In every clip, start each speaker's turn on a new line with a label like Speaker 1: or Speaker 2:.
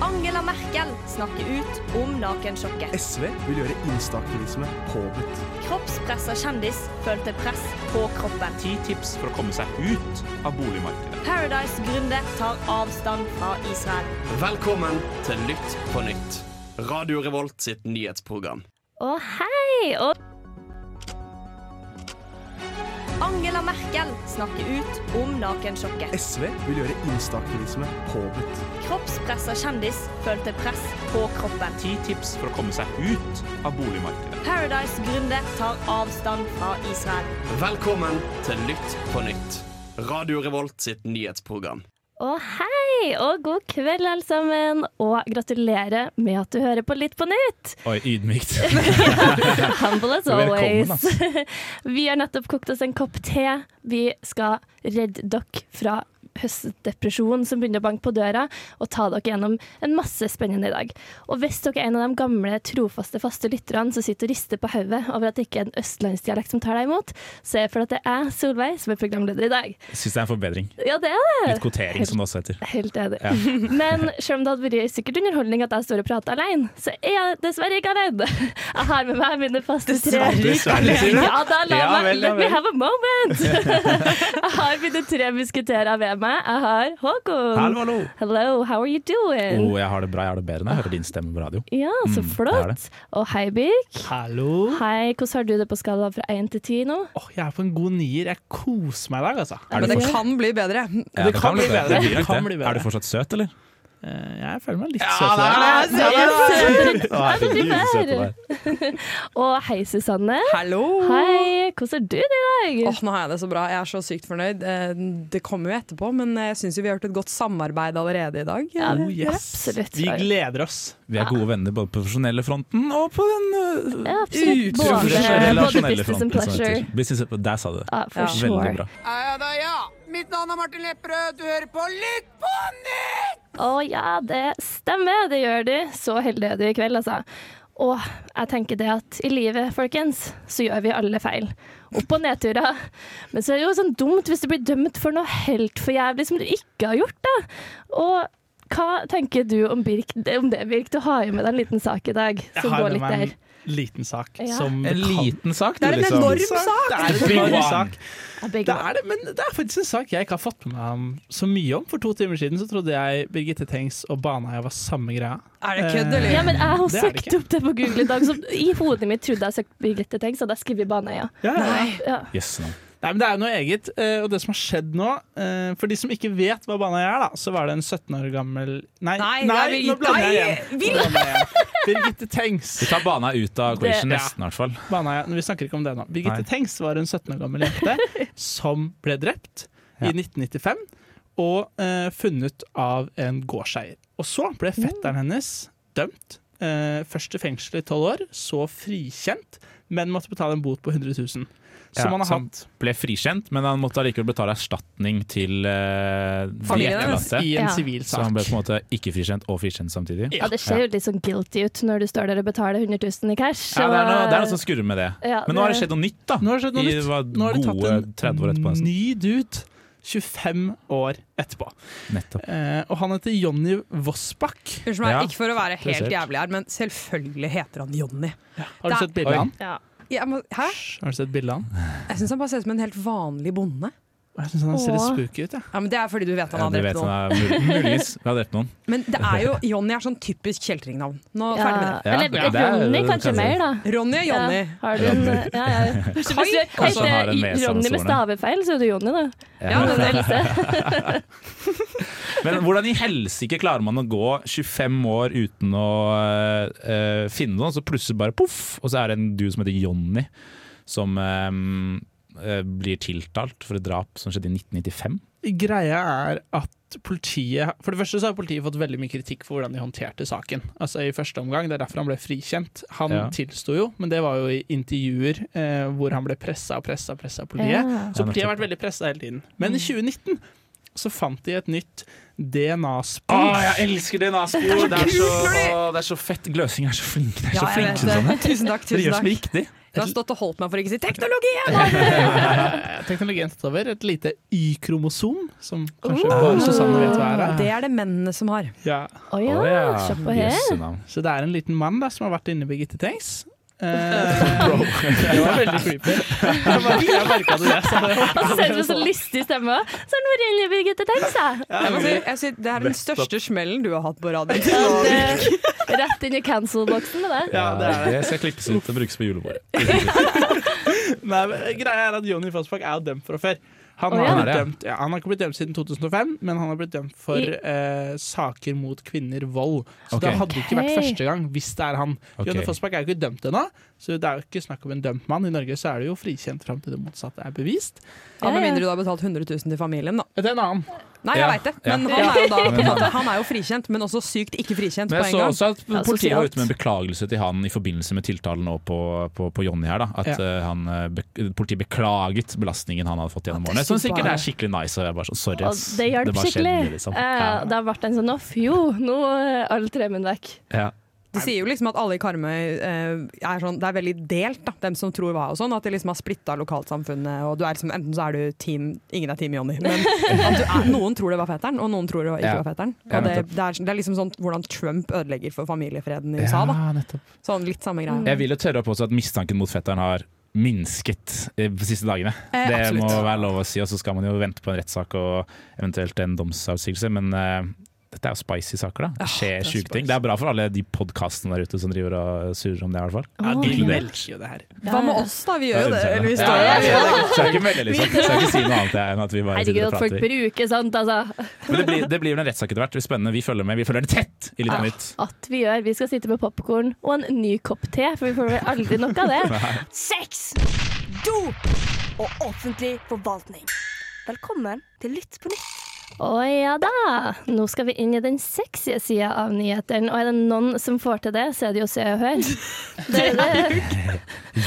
Speaker 1: Angela Merkel snakker ut om nakensjokket.
Speaker 2: SV vil gjøre instaaktivisme påbudt.
Speaker 1: Kroppspressa kjendis følte press på kroppen.
Speaker 3: Ti tips for å komme seg ut av boligmarkedet.
Speaker 1: Paradise-gründer tar avstand fra Israel.
Speaker 4: Velkommen til Lytt på nytt. Radio Revolt sitt nyhetsprogram.
Speaker 5: Å, hei! Og
Speaker 1: Angela Merkel snakker ut om nakensjokket.
Speaker 2: SV vil gjøre instaaktivisme påbudt.
Speaker 1: Kroppspressa kjendis følte press på kroppen.
Speaker 3: Ti tips for å komme seg ut av boligmarkedet.
Speaker 1: Paradise-gründer tar avstand fra Israel.
Speaker 4: Velkommen til Lytt på nytt. Radio Revolt sitt nyhetsprogram.
Speaker 5: Å, hei! Og god kveld, alle sammen. Og gratulerer med at du hører på Litt på nytt!
Speaker 6: Oi, ydmykt.
Speaker 5: Humble as
Speaker 6: Du er velkommen,
Speaker 5: always. Vi har nettopp kokt oss en kopp te. Vi skal redde dere fra høstdepresjonen som begynner å banke på døra, og ta dere gjennom en masse spennende i dag. Og hvis dere er en av de gamle, trofaste, faste lytterne som sitter og rister på hodet over at det ikke er en østlandsdialekt som tar deg imot, så er det fordi det er jeg, Solveig, som er programleder i dag.
Speaker 6: Syns det er en forbedring.
Speaker 5: Ja, det er det!
Speaker 6: Litt kvotering, som det også heter.
Speaker 5: Helt enig. Men selv om det hadde vært sikkert underholdning at jeg står og prater alene, så er jeg dessverre ikke alene. Jeg har med meg mine faste tre Ja da, la
Speaker 6: Ja
Speaker 5: meg
Speaker 6: vel, ja
Speaker 5: Let me
Speaker 6: vel.
Speaker 5: have a moment! jeg har mine tre musketerer ved meg. Jeg har Håkon.
Speaker 6: Hallo, hallo.
Speaker 5: Hello, how are you
Speaker 6: Å,
Speaker 5: doing?
Speaker 6: jeg har det bra, jeg har det bedre når jeg hører din stemme på radio.
Speaker 5: Ja, så
Speaker 6: Mm, det er
Speaker 5: flott.
Speaker 6: det.
Speaker 5: Og hei, Birk.
Speaker 7: Hallo.
Speaker 5: Hei, hvordan har du det på skala fra 1 til 10 nå?
Speaker 7: Åh, jeg er på en god nier. Jeg koser meg i dag, altså.
Speaker 6: Er du
Speaker 8: Men det
Speaker 6: fortsatt-
Speaker 8: kan bli bedre.
Speaker 6: Ja,
Speaker 7: det kan bli bedre.
Speaker 6: Det blir
Speaker 7: Det
Speaker 6: nok
Speaker 7: kan
Speaker 6: det.
Speaker 7: bli bedre.
Speaker 6: Er du fortsatt søt, eller?
Speaker 7: Eh, Jeg føler meg litt søt i dag.
Speaker 8: Ja,
Speaker 6: Å, herregud, så søt du er.
Speaker 5: Og hei, Susanne.
Speaker 8: Hallo!
Speaker 5: Hei, hvordan har du det i dag?
Speaker 8: Åh, nå har jeg det så bra. Jeg er så sykt fornøyd. Eh, Det kommer jo etterpå, men eh, jeg syns vi har gjort et godt samarbeid allerede i dag.
Speaker 5: Ja,
Speaker 7: Oh, yes.
Speaker 5: absolutt.
Speaker 7: Vi gleder oss. Mm,
Speaker 6: Vi er gode venner både på den profesjonelle fronten og på den
Speaker 7: eh,
Speaker 6: øh,
Speaker 5: Ja, absolutt. Både, både
Speaker 6: relasjonelle
Speaker 5: business and
Speaker 6: fronten. som
Speaker 5: pleasure.
Speaker 6: det heter. Business, der sa du det.
Speaker 5: Ja, for
Speaker 8: Ja.
Speaker 6: Veldig
Speaker 5: sure.
Speaker 6: bra.
Speaker 9: Mitt navn er Martin Lepperød, du hører på Lytt på nytt!
Speaker 5: Å ja, det stemmer. Det gjør du. Så heldig er du i kveld, altså. Og jeg tenker det at i livet, folkens, så gjør vi alle feil. Opp- og nedturer. Men så er det jo sånn dumt hvis du blir dømt for noe helt for jævlig som du ikke har gjort, da. Og hva tenker du om, Birk, om det, Birk? Du har jo med deg en liten sak i dag
Speaker 7: Jeg
Speaker 5: som
Speaker 7: har
Speaker 5: går
Speaker 7: med
Speaker 5: litt
Speaker 7: meg
Speaker 5: der.
Speaker 7: en liten sak
Speaker 5: Ja.
Speaker 7: som
Speaker 6: En
Speaker 7: kan-
Speaker 6: liten sak, du,
Speaker 8: Det er en
Speaker 6: liksom.
Speaker 8: enorm sak!
Speaker 7: Det er en
Speaker 6: Big
Speaker 7: enorm
Speaker 6: one.
Speaker 7: sak.
Speaker 5: Jeg begge
Speaker 7: Det er det, men det er faktisk en sak jeg ikke har fått med meg om så mye om. For to timer siden så trodde jeg Birgitte Tengs og Baneheia var samme greia.
Speaker 8: Er det kødd, eller?
Speaker 5: Ja, men jeg har
Speaker 7: Det er det
Speaker 5: søkt
Speaker 7: ikke.
Speaker 5: opp det på Google i dag, så i hodet mitt trodde jeg søkte Birgitte Tengs, og da skriver jeg Baneøya.
Speaker 7: Ja, ja, ja.
Speaker 5: Ja.
Speaker 6: Yes, no.
Speaker 7: Nei, men Det er jo noe eget. eh, Og det som har skjedd nå eh, For de som ikke vet hva Baneheia er, da, så var det en 17 år gammel Nei,
Speaker 8: Nei, det er
Speaker 7: nå blander jeg
Speaker 8: Birgitte.
Speaker 7: igjen. Nå blander jeg igjen. Birgitte Tengs.
Speaker 6: Vi tar bana ut av collision,
Speaker 7: Det-
Speaker 6: nesten i hvert fall.
Speaker 7: Baneheia, vi snakker ikke om det nå. Birgitte
Speaker 6: Nei.
Speaker 7: Tengs var en 17 år gammel jente som ble drept
Speaker 6: Ja.
Speaker 7: i 1995 og eh, funnet av en gårdseier. Og så ble fetteren
Speaker 6: Mm.
Speaker 7: hennes dømt. eh, først til fengsel i tolv år, så frikjent, men måtte betale en bot på 100 000. Som
Speaker 6: Ja,
Speaker 7: han har
Speaker 6: som-
Speaker 7: hatt
Speaker 6: Ble frikjent, men han måtte allikevel betale erstatning til uh,
Speaker 8: Familien hennes.
Speaker 6: etterlatte.
Speaker 7: i en
Speaker 5: Ja.
Speaker 7: sivil
Speaker 6: Så han
Speaker 7: sak.
Speaker 6: ble på en måte ikke frikjent og frikjent samtidig.
Speaker 5: Ja, det ser jo litt sånn guilty ut når du står der og betaler 100 000 i cash.
Speaker 6: Ja, det er noe, det er noe
Speaker 5: og-
Speaker 6: som skurrer med det.
Speaker 5: Ja,
Speaker 6: Men nå har det skjedd noe nytt, da.
Speaker 7: Nå har det skjedd noe
Speaker 6: I-
Speaker 7: nytt.
Speaker 6: var
Speaker 7: Nå har de tatt
Speaker 6: gode 30 år etterpå,
Speaker 7: en
Speaker 6: nesten.
Speaker 7: ny dude 25 år etterpå.
Speaker 6: Nettopp.
Speaker 7: Eh, og han heter Jonny Vossbakk.
Speaker 8: Unnskyld meg,
Speaker 6: Ja.
Speaker 8: ikke for å være helt
Speaker 6: Spesielt.
Speaker 8: jævlig her, men selvfølgelig heter han Jonny.
Speaker 7: Har du
Speaker 8: Da-
Speaker 7: sett bildet
Speaker 6: Oi.
Speaker 7: av han?
Speaker 5: Ja.
Speaker 8: Jeg må- Hæ?
Speaker 7: Hysj, Har du sett bildet av han?
Speaker 8: Jeg syns han bare ser ut som en helt vanlig bonde.
Speaker 7: Jeg syns han ser litt
Speaker 5: Åh.
Speaker 7: spooky ut, jeg.
Speaker 8: Ja, men Det er fordi du vet han
Speaker 6: Ja,
Speaker 8: har
Speaker 6: det
Speaker 8: drept
Speaker 6: vet
Speaker 8: noen.
Speaker 6: han er mul- muligens. Vi har drept noen.
Speaker 8: Men det er jo, Jonny er sånn typisk kjeltringnavn. Nå
Speaker 5: Ja.
Speaker 8: ferdig med det.
Speaker 6: Ja,
Speaker 5: Eller
Speaker 6: ja, det er-
Speaker 5: Ronny
Speaker 6: det kan
Speaker 5: kanskje
Speaker 6: jeg si.
Speaker 5: mer, da.
Speaker 8: Ronny og Jonny.
Speaker 5: Ja, har du en ja, ja. Kanskje
Speaker 8: Kai?
Speaker 5: hvis du
Speaker 6: Kanskje han har en med
Speaker 5: heter Ronny med
Speaker 6: samsvarende.
Speaker 5: stavefeil, så er du Jonny, da.
Speaker 8: Ja, det er
Speaker 6: Men hvordan i helsike klarer man å gå 25 år uten å eh, eh, finne noen, så plutselig bare poff, og så er det en du som heter Jonny, som eh, eh, blir tiltalt for et drap som skjedde i 1995.
Speaker 7: Greia er at politiet For det første så har politiet fått veldig mye kritikk for hvordan de håndterte saken. Altså i første omgang, Det er derfor han ble frikjent. Han
Speaker 6: Ja.
Speaker 7: tilsto jo, men det var jo i intervjuer eh, hvor han ble pressa og pressa og pressa av politiet.
Speaker 5: Ja.
Speaker 7: Så
Speaker 6: Ja,
Speaker 7: politiet har
Speaker 6: nettopp.
Speaker 7: vært veldig pressa hele tiden. Men i 2019 så fant de et nytt DNA-spor.
Speaker 6: Å, jeg elsker DNA-spor! Det, er så- å, det er så fett. Gløsing er så flink. Det er så
Speaker 8: Ja, jeg
Speaker 6: flink
Speaker 8: vet
Speaker 6: Susanne.
Speaker 8: det. Tusen takk.
Speaker 6: Dere
Speaker 8: tusen
Speaker 6: gjør som
Speaker 8: takk
Speaker 6: riktig.
Speaker 8: Jeg har stått og holdt meg for å ikke si 'teknologien'!
Speaker 7: Eh, Teknologien tatt over. Et lite Y-kromosom, som kanskje bare Susanne vet hva er.
Speaker 8: Ah, Det er det mennene som har.
Speaker 7: Ja.
Speaker 5: Å ja,
Speaker 6: Å ja.
Speaker 5: se på her.
Speaker 6: Jøsse navn.
Speaker 7: Så det er en liten mann da, som har vært inne i Birgitte Tengs. Eh, det var veldig creepy. Jeg merket- Jeg merka det, jeg. sa det.
Speaker 5: Og så ser du så lystig stemme. Så er det Marianne Birgitte Tengs, jeg.
Speaker 8: Jeg må si, jeg sier, det er den største smellen du har hatt på radio.
Speaker 5: Det- Rett inn i cancel-boksen med det.
Speaker 6: Ja,
Speaker 7: Ja, det
Speaker 6: det,
Speaker 7: er det.
Speaker 6: skal klippes ut og brukes på julebordet.
Speaker 7: Nei, men greia er at Jonny Fossbakk er jo dømt fra før. Han
Speaker 5: Å,
Speaker 7: har,
Speaker 5: ja.
Speaker 7: blitt dømt, ja, han har ikke blitt dømt siden 2005, men han har blitt dømt for
Speaker 5: I-
Speaker 7: eh, saker mot kvinner, vold. Så
Speaker 6: Ok.
Speaker 7: det hadde ikke vært
Speaker 5: Ok.
Speaker 7: første gang, hvis det er han.
Speaker 6: Ok.
Speaker 7: Jonny Fossbakk er jo ikke dømt ennå, så det er jo ikke snakk om en dømt mann. I Norge så er det jo frikjent fram til det motsatte er bevist.
Speaker 8: Ja, Med mindre du har betalt 100 000 til familien, da.
Speaker 7: Det er en annen.
Speaker 8: Nei, jeg
Speaker 6: Ja,
Speaker 8: veit det,
Speaker 6: ja.
Speaker 8: men han er jo da på en
Speaker 6: Men han-
Speaker 8: måte, Han er jo frikjent, men også sykt ikke frikjent
Speaker 6: Men
Speaker 8: på en
Speaker 6: jeg så
Speaker 8: gang.
Speaker 6: også at
Speaker 5: Ja,
Speaker 6: politiet var
Speaker 5: sosialt.
Speaker 6: ute med en beklagelse til han i forbindelse med tiltalen nå på, på, på Jonny her. da At
Speaker 7: Ja.
Speaker 6: eh, han, eh, be politiet beklaget belastningen han hadde fått gjennom
Speaker 8: Ja, det
Speaker 6: årene. Som
Speaker 8: synes jeg
Speaker 6: sikkert
Speaker 8: bare-
Speaker 6: er skikkelig nice. Og jeg er bare sånn, sorry,
Speaker 5: Og
Speaker 6: ass.
Speaker 5: det hjalp
Speaker 6: var skjedd
Speaker 5: skikkelig.
Speaker 6: mye, liksom.
Speaker 5: Eh, Da ble den sånn off. Jo, nå er all tremen vekk.
Speaker 6: ja.
Speaker 8: De sier jo liksom at alle i Karmøy eh, er sånn, det er veldig delt, da, hvem som tror hva og sånn. At de liksom har splitta lokalsamfunnet. og du er liksom, Enten så er du team Ingen er team Jonny, men at du er, noen tror det var fetteren, og noen tror det var- ikke
Speaker 6: Ja.
Speaker 8: var fetteren. Og
Speaker 6: Ja,
Speaker 8: det,
Speaker 6: nettopp.
Speaker 8: det, er, det er liksom sånn hvordan Trump ødelegger for familiefreden i
Speaker 6: Ja. Mm.
Speaker 8: USA. da.
Speaker 7: Ja, nettopp.
Speaker 8: Sånn litt samme greia.
Speaker 6: Jeg vil jo tørre å påstå at mistanken mot fetteren har minsket eh, de siste dagene.
Speaker 8: Eh,
Speaker 6: det
Speaker 8: absolutt.
Speaker 6: må være lov å si, og så skal man jo vente på en rettssak og eventuelt en domsavsigelse. Men eh, dette er jo spicy saker, da. Det skjer sjuke ting. Det er bra for alle de podkastene der ute som driver og surrer om det, i hvert fall.
Speaker 7: Ja,
Speaker 5: Å,
Speaker 7: de
Speaker 5: ja.
Speaker 7: elsker jo det her.
Speaker 8: Hva med oss, da? Vi gjør jo det.
Speaker 6: Ja,
Speaker 8: Eller vi
Speaker 6: ja,
Speaker 8: står
Speaker 6: ja,
Speaker 8: der.
Speaker 6: ja, ja. Skal ikke melde, liksom. Skal ikke si noe annet enn at vi bare sitter
Speaker 5: Herregud,
Speaker 6: og
Speaker 5: at folk
Speaker 6: prater.
Speaker 5: bruker sånt, altså.
Speaker 6: Men det blir, det blir vel en rettssak etter hvert. Det blir spennende. Vi følger med. Vi følger det tett i Litt
Speaker 5: Ah.
Speaker 6: på nytt.
Speaker 5: At vi gjør. Vi skal sitte med popkorn og en ny kopp te, for vi får vel aldri nok av det.
Speaker 1: Sex, dop og offentlig forvaltning. Velkommen til Lytt på nytt.
Speaker 5: Å ja da! Nå skal vi inn i den sexy sida av nyhetene, og er det noen som får til det, så er det jo Se og Hør. Det er det.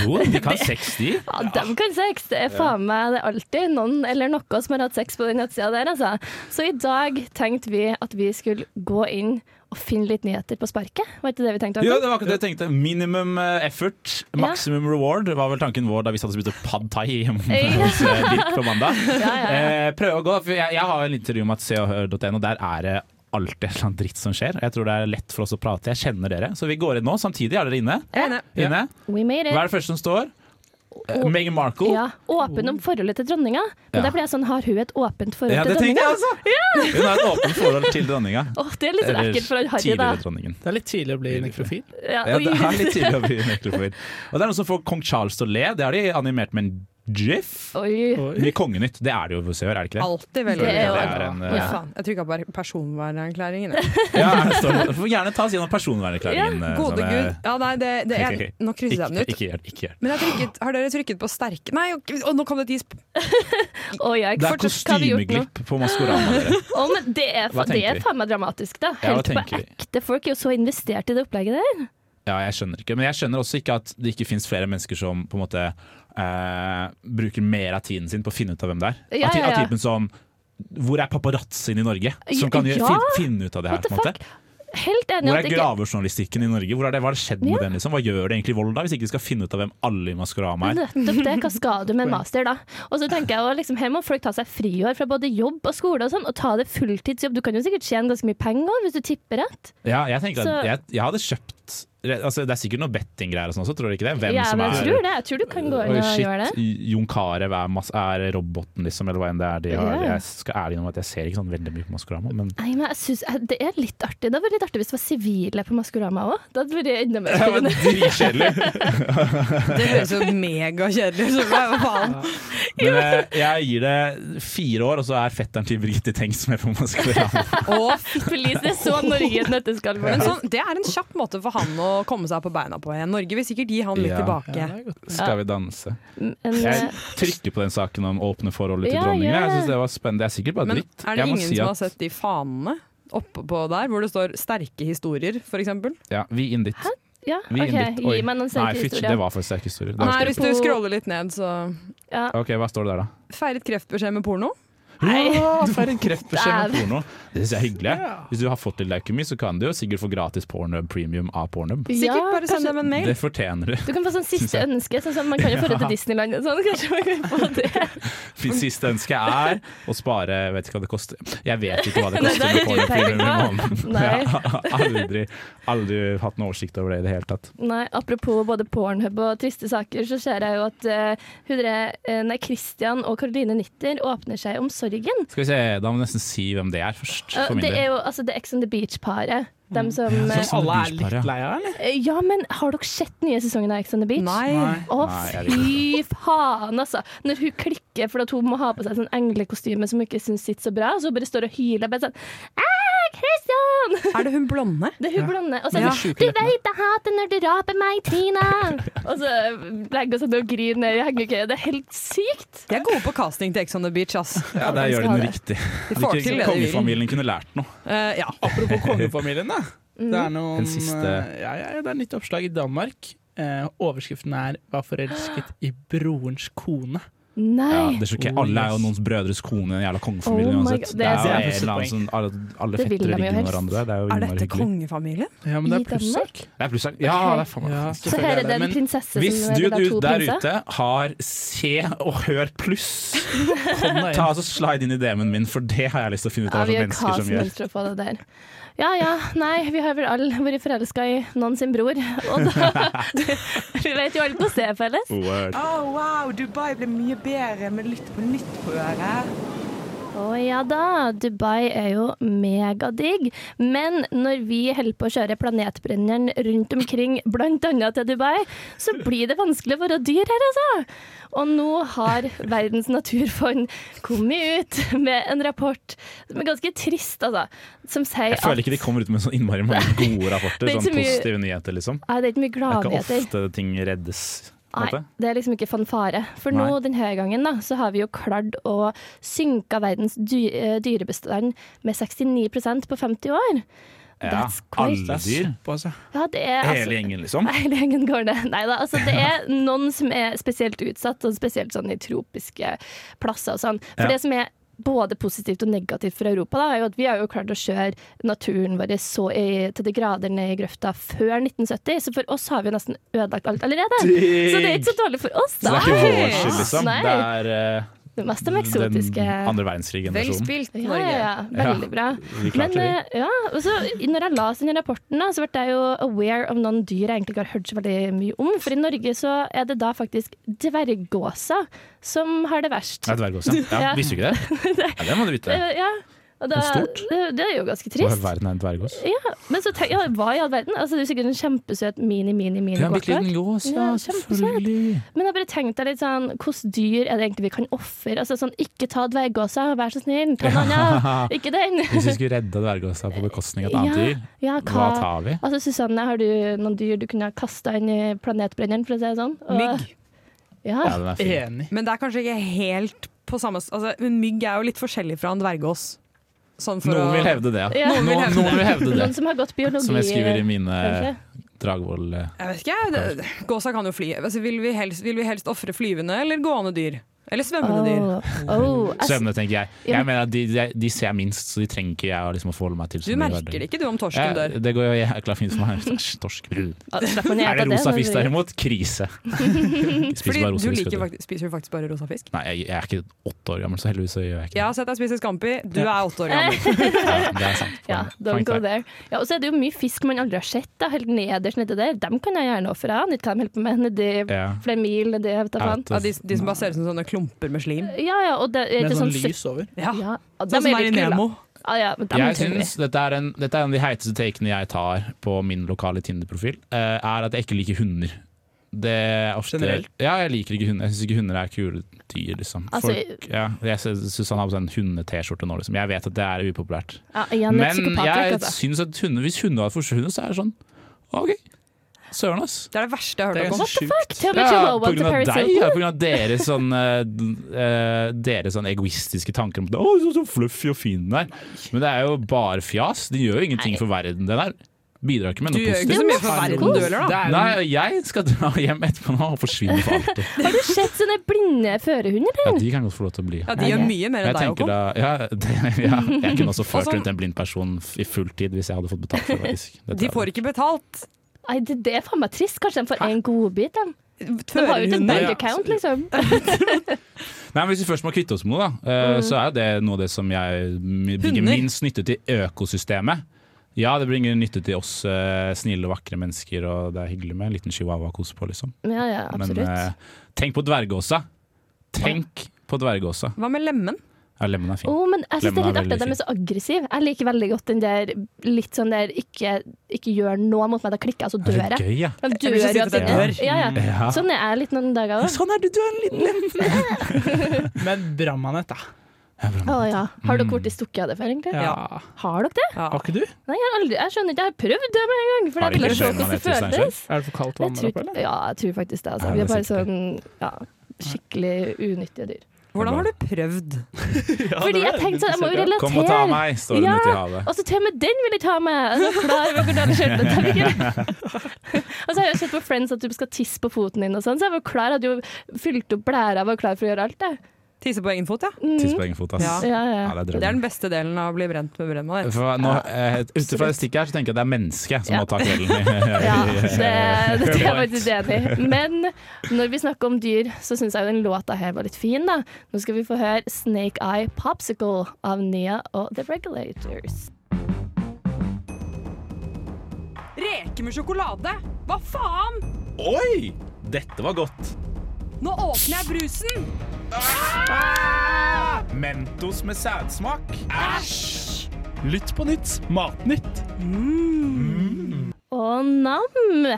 Speaker 6: Jo, de kan sex, de.
Speaker 5: Ja, de kan sex! Det er faen meg det er alltid noen eller noe som har hatt sex på den nettsida der, altså. Så i dag tenkte vi at vi skulle gå inn og finne litt nyheter på sparket. Var ikke det vi tenkte?
Speaker 6: Jo,
Speaker 5: Håkon?
Speaker 6: det var akkurat det jeg tenkte. Minimum eh, effort, maximum reward var vel tanken vår da vi satt og spiste pad thai hjemme hos eh, Dirk på mandag.
Speaker 5: Ja, ja, ja.
Speaker 6: Eh, prøve å gå, for jeg, jeg har en intervju om at seoghør.no, der er det alltid en eller annen dritt som skjer. Jeg tror det er lett for oss å prate. Jeg kjenner dere. Så vi går inn nå. Samtidig er dere inne.
Speaker 8: Jeg er enig.
Speaker 6: inne.
Speaker 5: We made
Speaker 6: Hva er
Speaker 5: it.
Speaker 6: det første som står? Eh,
Speaker 5: Og-
Speaker 6: Meghan Markle.
Speaker 5: Ja, åpen om forholdet til dronninga. Men
Speaker 6: Ja.
Speaker 5: der ble jeg sånn, har hun et åpent forhold
Speaker 6: Ja,
Speaker 5: til
Speaker 6: det tenkte
Speaker 5: dronninga?
Speaker 6: jeg altså! Hun har et åpent forhold til dronninga.
Speaker 5: Åh, det er litt sånn ekkelt for han Harry, da.
Speaker 6: tidligere dronningen.
Speaker 7: Det er litt tidlig å bli nekrofil.
Speaker 5: Ja,
Speaker 6: Ja,
Speaker 5: oi.
Speaker 6: det er litt tidlig å bli nekrofil. Og det er noen som får kong Charles til å le. Det har de animert med en gif.
Speaker 5: Oi.
Speaker 6: Men i Kongenytt, det er det jo for seer, er det ikke det?
Speaker 8: Alltid veldig
Speaker 5: Det er jo-
Speaker 8: bra.
Speaker 6: Det er en, eh,
Speaker 8: Oi,
Speaker 6: ja.
Speaker 8: faen. Jeg trykka på personvernerklæringen. jeg.
Speaker 6: Ja, er det står, får gjerne ta oss gjennom personvernerklæringen. eh,
Speaker 8: Gode
Speaker 6: sånn,
Speaker 8: gud.
Speaker 6: eh,
Speaker 8: Ja, nei, det, det er, nå krysser jeg den
Speaker 6: Ikke,
Speaker 8: ut.
Speaker 6: ikke gjør det. ikke gjør det.
Speaker 8: Men jeg har trykket, har dere trykket på sterke Nei, ok, å, nå kom det et gisp!
Speaker 5: Å, ja,
Speaker 6: Det er
Speaker 5: fortsatt, hva har vi gjort nå?
Speaker 6: kostymeglipp på Maskorama. dere.
Speaker 5: Å, men det er, fa-
Speaker 6: Hva tenker
Speaker 5: det er
Speaker 6: vi?
Speaker 5: faen meg dramatisk, da.
Speaker 6: Ja, hva
Speaker 5: Helt på
Speaker 6: tenker vi?
Speaker 5: ekte. Folk er jo så investert i det opplegget der.
Speaker 6: Ja, jeg skjønner ikke. Men jeg skjønner også ikke at det ikke finnes flere mennesker som på en måte eh, bruker mer av tiden sin på å finne ut av hvem det er.
Speaker 5: Ja,
Speaker 6: Av, ty-
Speaker 5: ja, ja.
Speaker 6: av typen som Hvor er paparazzoen i Norge?
Speaker 5: Ja,
Speaker 6: Som kan gjøre-
Speaker 5: ja.
Speaker 6: fin, finne ut av det her.
Speaker 5: What the
Speaker 6: på en måte.
Speaker 5: fuck? Helt enig
Speaker 6: Hvor
Speaker 5: at
Speaker 6: er
Speaker 5: ikke
Speaker 6: gravejournalistikken i Norge? Hvor er det, hva har skjedd
Speaker 5: Ja.
Speaker 6: med den? Liksom? Hva gjør det egentlig i Volda, hvis ikke de skal finne ut av hvem alle i Maskorama er?
Speaker 5: Nettopp det. Hva skal du med en master, da? Og så tenker jeg også, liksom, Her må folk ta seg friår fra både jobb og skole og sånn, og ta det fulltidsjobb. Du kan jo sikkert tjene ganske mye penger også, hvis du tipper rett.
Speaker 6: Ja, jeg, tenker
Speaker 5: Så-
Speaker 6: at jeg, jeg hadde kjøpt altså, Det er sikkert noe bettinggreier og sånn også, tror dere ikke det? Hvem
Speaker 5: Ja,
Speaker 6: som
Speaker 5: men
Speaker 6: er
Speaker 5: jeg tror det. Jeg tror du kan gå inn
Speaker 6: Oi,
Speaker 5: og
Speaker 6: shit,
Speaker 5: gjøre det.
Speaker 6: Jon Carew er, mas- er roboten, liksom, eller hva enn det er. De har.
Speaker 5: Ja.
Speaker 6: Jeg skal ærlig innrømme at jeg ser ikke sånn veldig mye på Maskorama, men
Speaker 5: Nei, men jeg synes, jeg- Det er litt artig. Det hadde vært litt artig hvis det var sivile på Maskorama òg. Det hadde vært enda mer spennende.
Speaker 6: Dritkjedelig.
Speaker 8: Det høres jo megakjedelig ut. så Hva faen?
Speaker 6: Men eh, jeg gir det fire år, og så er fetteren til Birgitte Tengs med på Maskorama.
Speaker 8: Å, fy-
Speaker 5: Please, det er så Norge i et nøtteskall.
Speaker 8: Men sånn, det er en kjapp måte for han å komme seg på beina på igjen. Norge vil sikkert gi han litt
Speaker 6: Ja.
Speaker 8: tilbake.
Speaker 6: Skal vi danse?
Speaker 5: Men,
Speaker 6: Jeg
Speaker 5: eh,
Speaker 6: trykker på den saken om åpne forhold til
Speaker 5: Ja,
Speaker 6: dronningen.
Speaker 5: gjør
Speaker 6: Jeg
Speaker 5: det.
Speaker 6: synes det var spennende. Det er sikkert bare
Speaker 8: Men
Speaker 6: dritt.
Speaker 8: er det
Speaker 6: Jeg må
Speaker 8: ingen
Speaker 6: si
Speaker 8: som har
Speaker 6: at
Speaker 8: sett de fanene oppå der, hvor det står 'sterke historier', f.eks.?
Speaker 6: ja, vi inn dit.
Speaker 5: ja,
Speaker 6: Vi
Speaker 5: ok,
Speaker 6: inn dit. Oi.
Speaker 5: Gi meg noen
Speaker 6: Nei,
Speaker 5: sterke
Speaker 6: fytti, det
Speaker 5: historier.
Speaker 6: var for sterk historie. Det var
Speaker 8: Nei,
Speaker 6: skrevet.
Speaker 8: hvis du scroller litt ned, så
Speaker 5: Ja.
Speaker 6: OK, hva står det der, da?
Speaker 8: Feiret kreftbeskjed med porno.
Speaker 6: Ja, Får en kreftbeskjed med
Speaker 5: Dæven.
Speaker 6: porno. Det syns jeg er hyggelig.
Speaker 7: Ja.
Speaker 6: Hvis du har fått litt leukemi, så kan du jo sikkert få gratis pornhub premium av pornhub.
Speaker 8: Sikkert bare
Speaker 5: kanskje-
Speaker 8: send dem en mail.
Speaker 6: Det fortjener du.
Speaker 5: Du kan få sånn
Speaker 6: Synes
Speaker 5: siste
Speaker 6: jeg.
Speaker 5: ønske, sånn som man kan jo dra til Disneyland og sånn. Kanskje man kan få det.
Speaker 6: Mitt siste ønske er å spare Jeg vet ikke hva det koster. Jeg vet ikke hva det
Speaker 5: Nei, det
Speaker 6: koster med
Speaker 5: er
Speaker 6: porno
Speaker 5: ikke
Speaker 6: premium i
Speaker 5: peiling,
Speaker 6: måneden.
Speaker 5: Nei.
Speaker 6: Jeg har aldri, aldri hatt noen oversikt over det i det hele tatt.
Speaker 5: Nei, apropos både Pornhub og triste saker, så ser jeg jo at eh, hun dere- eh, nei, Christian og Caroline Nitter åpner seg om sorgen.
Speaker 6: Skal vi se, Da må vi nesten si hvem det er først.
Speaker 5: Eh,
Speaker 6: For min
Speaker 5: det er
Speaker 6: del.
Speaker 5: jo altså The Ex on the Beach-paret. Dem som eh,
Speaker 7: Som alle er
Speaker 6: Beachbar, ja.
Speaker 7: litt lei av, eller?
Speaker 5: eh, Ja, men har dere sett nye sesongen av Ex on the Beach?
Speaker 8: Nei.
Speaker 5: Å,
Speaker 6: Nei, jeg vet
Speaker 5: fy faen, altså. Når hun klikker fordi at hun må ha på seg sånn englekostyme som hun ikke syns sitter så bra, så hun bare står og hyler. Bare sånn «Ah, Christian!
Speaker 8: Er det hun blonde?
Speaker 5: Det er hun blonde. Og så er
Speaker 8: Ja.
Speaker 5: det sånn, du veit jeg hater når du raper meg, Tina! og så legger hun seg ned og griner i hengekøya. Det er helt sykt.
Speaker 8: De er gode på casting til Ex on the Beach, ass.
Speaker 6: Ja, Der gjør de noe riktig.
Speaker 8: De får til det de vil.
Speaker 6: Kongefamilien kunne lært noe.
Speaker 8: Eh, ja.
Speaker 7: Apropos kongefamilien, da.
Speaker 5: Mm.
Speaker 7: Det er noen
Speaker 6: Den siste.
Speaker 7: eh, ja, ja, ja, det er nytt oppslag i Danmark. Eh, overskriften er 'Var forelsket i brorens kone'.
Speaker 6: Ja,
Speaker 5: Nei.
Speaker 6: det er så ok. Alle er jo noens brødres kone, en jævla kongefamilie
Speaker 5: Oh my God,
Speaker 6: uansett. Det
Speaker 5: det er
Speaker 6: er jo
Speaker 7: sant.
Speaker 6: en eller annen som alle,
Speaker 5: Det
Speaker 6: alle
Speaker 5: vil de
Speaker 6: fettere
Speaker 5: jo
Speaker 6: ligger med
Speaker 5: helst.
Speaker 6: hverandre. Det er jo
Speaker 8: Er
Speaker 6: innmari
Speaker 8: dette
Speaker 6: hyggelig.
Speaker 8: kongefamilien?
Speaker 7: Ja, men det
Speaker 5: I
Speaker 7: er plussak.
Speaker 6: Det er plussak. Ja, det er faen meg
Speaker 7: Ja,
Speaker 5: Så her er det en
Speaker 7: men
Speaker 5: prinsesse
Speaker 6: Hvis
Speaker 5: som
Speaker 6: du
Speaker 5: eller det er
Speaker 6: du
Speaker 5: to
Speaker 6: der
Speaker 5: prinser.
Speaker 6: ute har se og hør pluss,
Speaker 7: kom deg
Speaker 6: ta
Speaker 7: inn.
Speaker 6: og så slide inn i DM-en min, for det har jeg lyst til å finne ut
Speaker 5: Ja,
Speaker 6: av
Speaker 5: vi
Speaker 6: hva
Speaker 5: gjør hva
Speaker 6: slags mennesker
Speaker 5: som
Speaker 6: som gjør.
Speaker 5: helst for å få det der. Ja ja, nei, vi har vel alle vært forelska i noen sin bror. Og da Vi vet jo alle på stedet felles.
Speaker 6: Word.
Speaker 9: Oh, wow, Dubai ble mye bedre med Lytt på nytt på øret.
Speaker 5: Å ja da, Dubai er jo megadigg. Men når vi holder på å kjøre planetbrenneren rundt omkring, bl.a. til Dubai, så blir det vanskelig å være dyr her, altså. Og nå har Verdens naturfond kommet ut med en rapport som er ganske trist, altså. Som sier
Speaker 6: Jeg føler ikke de kommer ut med så innmari mange gode rapporter,
Speaker 5: Det er ikke
Speaker 6: sånn
Speaker 5: så mye-
Speaker 6: positive nyheter, liksom.
Speaker 5: Nei, det er ikke mye
Speaker 6: Det er ikke
Speaker 5: gladnyheter.
Speaker 6: ofte ting reddes. på en
Speaker 5: Nei,
Speaker 6: måte.
Speaker 5: det er liksom ikke fanfare. For nå
Speaker 6: Nei.
Speaker 5: denne gangen da, så har vi jo klart å synke verdens dy eh, dyrebestand med 69 på 50 år.
Speaker 6: Ja,
Speaker 5: That's quite-
Speaker 6: alle dyr.
Speaker 7: Såpass, ja.
Speaker 5: Ja, det er altså-
Speaker 6: Hele gjengen, liksom.
Speaker 5: Nei, det er ingen går det. Nei da, altså det er noen som er spesielt utsatt, og spesielt sånn i tropiske plasser og sånn. For
Speaker 6: Ja.
Speaker 5: det som er både positivt og negativt for Europa, da, er jo at vi har jo klart å kjøre naturen vår så i, til de grader ned i grøfta før 1970, så for oss har vi jo nesten ødelagt alt allerede. Så det er ikke så dårlig for oss,
Speaker 6: Så
Speaker 5: da.
Speaker 6: det er ikke vår skyld, liksom.
Speaker 5: Nei.
Speaker 6: Det er eh,
Speaker 5: Det mest de eksotiske
Speaker 6: den andre verdenskrig-generasjonen.
Speaker 8: spilt,
Speaker 5: ja, ja, ja, veldig bra.
Speaker 6: Vi
Speaker 5: Men
Speaker 6: klarte det.
Speaker 5: eh, ja, og så i- når jeg leste denne rapporten, da, så ble jeg jo aware av noen dyr jeg egentlig ikke har hørt så veldig mye om. For i Norge så er det da faktisk dverggåsa som har det verst.
Speaker 6: Ja, dvergås, ja. ja.
Speaker 5: Ja.
Speaker 6: Visste du ikke det? Ja, det må du vite.
Speaker 5: Eh, ja. Og da,
Speaker 6: Det er stort.
Speaker 5: Det, det er jo ganske
Speaker 6: Hva i all
Speaker 5: trist.
Speaker 6: verden er en dvergås?
Speaker 5: Ja, men så tenk, ja, hva i all verden? Altså, det er jo sikkert en kjempesøt
Speaker 6: Ja, en bitte
Speaker 5: mini-mini-mini-gåsart.
Speaker 6: liten gås, ja.
Speaker 5: Ja, kjempesøt.
Speaker 6: Selvfølgelig.
Speaker 5: Men jeg bare tenkte litt sånn, hvilke dyr er det egentlig vi kan ofre? Altså sånn, ikke ta dverggåsa, vær så snill, ta en annen. Ikke den.
Speaker 6: Hvis vi skulle redde dvergåsa på bekostning av et
Speaker 5: Ja,
Speaker 6: annet dyr,
Speaker 5: ja,
Speaker 6: hva tar vi?
Speaker 5: Altså, Susanne, har du noen dyr du kunne ha kasta inn i planetbrenneren, for å si det sånn? Og-
Speaker 8: Mygg.
Speaker 5: Ja.
Speaker 6: Ja, den er fin.
Speaker 7: Enig.
Speaker 8: Men det er kanskje ikke helt på samme s- altså, En mygg er jo litt forskjellig fra en dvergås. Sånn for
Speaker 6: Noen
Speaker 8: å-
Speaker 6: vil hevde det. ja.
Speaker 5: Ja.
Speaker 6: Noen noen vil hevde det.
Speaker 5: Noen som har gått biologi eh,
Speaker 6: Som jeg skriver i eh, mine
Speaker 5: kanskje?
Speaker 6: Dragvoll eh,
Speaker 8: Jeg vet ikke, det, Gåsa kan jo fly. Altså, vil vi helst, vil vi helst ofre flyvende eller gående dyr? Eller svømmende dyr?
Speaker 5: Åh, åh, jeg-
Speaker 6: Svømmende, tenker jeg.
Speaker 5: Ja,
Speaker 6: Jeg mener at de, de, de ser minst, så de trenger ikke jeg å liksom å forholde meg til. så
Speaker 8: Du
Speaker 6: mye i
Speaker 8: merker
Speaker 6: hverdagen.
Speaker 8: det ikke, du, om torsken
Speaker 6: Ja,
Speaker 8: dør.
Speaker 6: det går jo jækla fint for meg. Æsj, Torsk. Er
Speaker 5: Ah, slapp av ned
Speaker 6: det
Speaker 5: på
Speaker 6: rosa
Speaker 5: men-
Speaker 6: fisk derimot? Krise. Spiser
Speaker 8: Fordi
Speaker 6: bare
Speaker 8: du
Speaker 6: rosa fisk.
Speaker 8: liker,
Speaker 6: vet du.
Speaker 8: faktisk- spiser du faktisk bare rosa fisk?
Speaker 6: Nei, jeg, jeg er ikke åtte år gammel, så heldigvis så gjør jeg ikke
Speaker 8: Jeg har sett deg spise scampi, du er åtte år gammel.
Speaker 6: det. Ja, det er sant.
Speaker 5: Ja, don't
Speaker 6: Poeng
Speaker 5: go there.
Speaker 6: der.
Speaker 5: Ja, og så er det jo mye fisk man aldri har sett, da, helt nederst nedi der. Dem kan jeg gjerne ofre. Jeg vet ikke hva de holder på med nedi
Speaker 6: Ja.
Speaker 5: flere mil nedi, jeg vet da faen.
Speaker 8: Ja, de, de som bare ser ut som sånne klumper med slim.
Speaker 5: Ja ja, og det er
Speaker 7: Med
Speaker 5: ikke
Speaker 7: sånn
Speaker 5: sånn
Speaker 7: lys over.
Speaker 8: Ja,
Speaker 5: Ja,
Speaker 8: Sånn som er i Nemo.
Speaker 5: Ja, Ah, ja, men dem
Speaker 6: Jeg
Speaker 5: trenger vi.
Speaker 6: synes dette er, en, dette er en av de heiteste takene jeg tar på min lokale Tinder-profil, eh, er at jeg ikke liker hunder. Det er ofte,
Speaker 7: Generelt?
Speaker 6: Ja, jeg liker ikke hunder. Jeg syns ikke hunder er kule dyr, liksom.
Speaker 5: Altså,
Speaker 6: Folk, ja, jeg syns han har på seg en hunde-T-skjorte nå, liksom. Jeg vet at det er upopulært.
Speaker 5: Ja, igjen, et
Speaker 6: Men
Speaker 5: psykopatrekk,
Speaker 6: jeg
Speaker 5: altså.
Speaker 6: syns at hunder, hvis hunder hadde forsvunnet, så er det sånn OK, søren, ass.
Speaker 8: Det er det verste jeg har
Speaker 7: Det er
Speaker 8: hørt om.
Speaker 7: ganske sjukt.
Speaker 5: Tell me
Speaker 6: Ja,
Speaker 5: Chihuahua
Speaker 6: på
Speaker 5: to
Speaker 6: grunn av
Speaker 5: Paris
Speaker 6: deg,
Speaker 5: Hilton.
Speaker 6: ja, på grunn av deres sånn, eh, d- eh, deres sånn egoistiske tanker om at, Å, så, så fluffy og fin den er. Men det er jo bare fjas. De gjør jo ingenting
Speaker 5: Nei.
Speaker 6: for verden, den der. Bidrar ikke med
Speaker 8: Du
Speaker 6: noe
Speaker 8: gjør jo ikke
Speaker 6: positivt. altså.
Speaker 8: så mye for verden, du heller, da.
Speaker 6: Nei, jeg skal dra hjem etterpå nå og forsvinne for alltid.
Speaker 5: Har du sett sånne blinde førerhunder?
Speaker 6: Ja, de kan godt få lov til å bli.
Speaker 8: Ja, de gjør
Speaker 5: Nei.
Speaker 8: mye mer
Speaker 6: Jeg
Speaker 8: enn deg,
Speaker 6: tenker
Speaker 8: Håkon.
Speaker 6: da, ja, det, ja, jeg kunne også ført
Speaker 8: sånn-
Speaker 6: rundt en blind person f- i fulltid hvis jeg hadde fått betalt for det. faktisk. Det
Speaker 8: De
Speaker 6: tror
Speaker 8: får
Speaker 6: jeg.
Speaker 8: ikke betalt.
Speaker 5: Nei, det, det er faen meg trist. Kanskje de får en godbit, de. De har jo ikke en
Speaker 8: Førerhunder.
Speaker 5: bank account, liksom.
Speaker 6: Nei, men Hvis vi først må kvitte oss med noe, da, eh, så er jo det noe av det som jeg mi- bringer
Speaker 8: Hunder.
Speaker 6: minst nytte til økosystemet. Ja, det bringer nytte til oss eh, snille og vakre mennesker, og det er hyggelig med en liten chihuahua å kose på, liksom.
Speaker 5: Ja, ja, absolutt.
Speaker 6: Men eh, tenk på dvergåsa! Tenk på
Speaker 8: eh,
Speaker 6: dvergåsa.
Speaker 8: Hva med lemmen?
Speaker 6: Ja, lemmen er fin.
Speaker 5: Å, men jeg synes det er
Speaker 6: Lemmen
Speaker 5: litt
Speaker 6: er
Speaker 5: artig at de
Speaker 6: veldig
Speaker 5: er så aggressive. Jeg liker veldig godt den der litt sånn der ikke, ikke gjør noe mot meg, da klikker jeg, så
Speaker 6: er
Speaker 5: dør
Speaker 6: det
Speaker 5: jeg.
Speaker 6: gøy, ja?
Speaker 5: De
Speaker 8: Jeg vil ikke
Speaker 5: dør
Speaker 8: si
Speaker 5: jo
Speaker 8: at det
Speaker 5: til-
Speaker 8: dør.
Speaker 5: Ja, ja.
Speaker 6: ja.
Speaker 5: Sånn er jeg litt noen dager òg.
Speaker 6: Sånn er du, du er en liten
Speaker 7: Men Bramanet, da.
Speaker 5: Å ja. Har dere blitt stukket av det før, egentlig?
Speaker 7: Ja.
Speaker 5: Har dere det?
Speaker 8: Ja.
Speaker 7: Har ikke du?
Speaker 5: Nei, jeg har aldri Jeg skjønner ikke. Jeg har prøvd det med en gang, for
Speaker 6: Har
Speaker 5: jeg ville
Speaker 6: ikke
Speaker 5: se
Speaker 6: prøvd
Speaker 5: hvordan det
Speaker 6: manet til
Speaker 5: føltes.
Speaker 7: Er det for kaldt vann
Speaker 5: Jeg
Speaker 7: der
Speaker 5: tror,
Speaker 7: oppe, eller?
Speaker 5: ja, jeg tror faktisk det. Altså.
Speaker 6: Ja,
Speaker 5: Vi er
Speaker 6: det er
Speaker 5: bare
Speaker 6: sikkert
Speaker 5: sånn ja, skikkelig unyttige dyr.
Speaker 8: Hvordan har du prøvd?
Speaker 5: Fordi jeg tenkte sånn, jeg må jo relatere.
Speaker 6: Kom og ta meg, står det
Speaker 5: Ja.
Speaker 6: ute i havet.
Speaker 5: Og så til og med den vil jeg ta med! Altså, klar over hvordan det skjer, men det er ikke det. Og så har jeg jo sett på Friends at du skal tisse på foten din, og sånn, så jeg var klar, hadde jo fylt opp blæra, var klar for å gjøre alt, jeg.
Speaker 8: Tisse på egen fot, ja.
Speaker 6: Tiss på egen fot, ass.
Speaker 8: Ja.
Speaker 5: Ja, ja.
Speaker 6: Ja, det er
Speaker 8: Det er
Speaker 6: drømmen.
Speaker 8: den beste delen av å bli brent med brennmanet.
Speaker 6: For nå, eh, Ut ifra det stikket her, så tenker jeg det er mennesket som
Speaker 5: Ja.
Speaker 6: må ta kvelden.
Speaker 5: ja det, det er jeg faktisk enig i. Men når vi snakker om dyr, så syns jeg jo den låta her var litt fin, da. Nå skal vi få høre 'Snake Eye Popsicle' av Nia og The Regulators.
Speaker 8: Reker med sjokolade! Hva faen?
Speaker 6: Oi! Dette var godt.
Speaker 8: Nå åpner jeg brusen!
Speaker 6: Ah! Mentos med sædsmak.
Speaker 7: Lytt på nytt. Matnytt.
Speaker 5: Å, nam!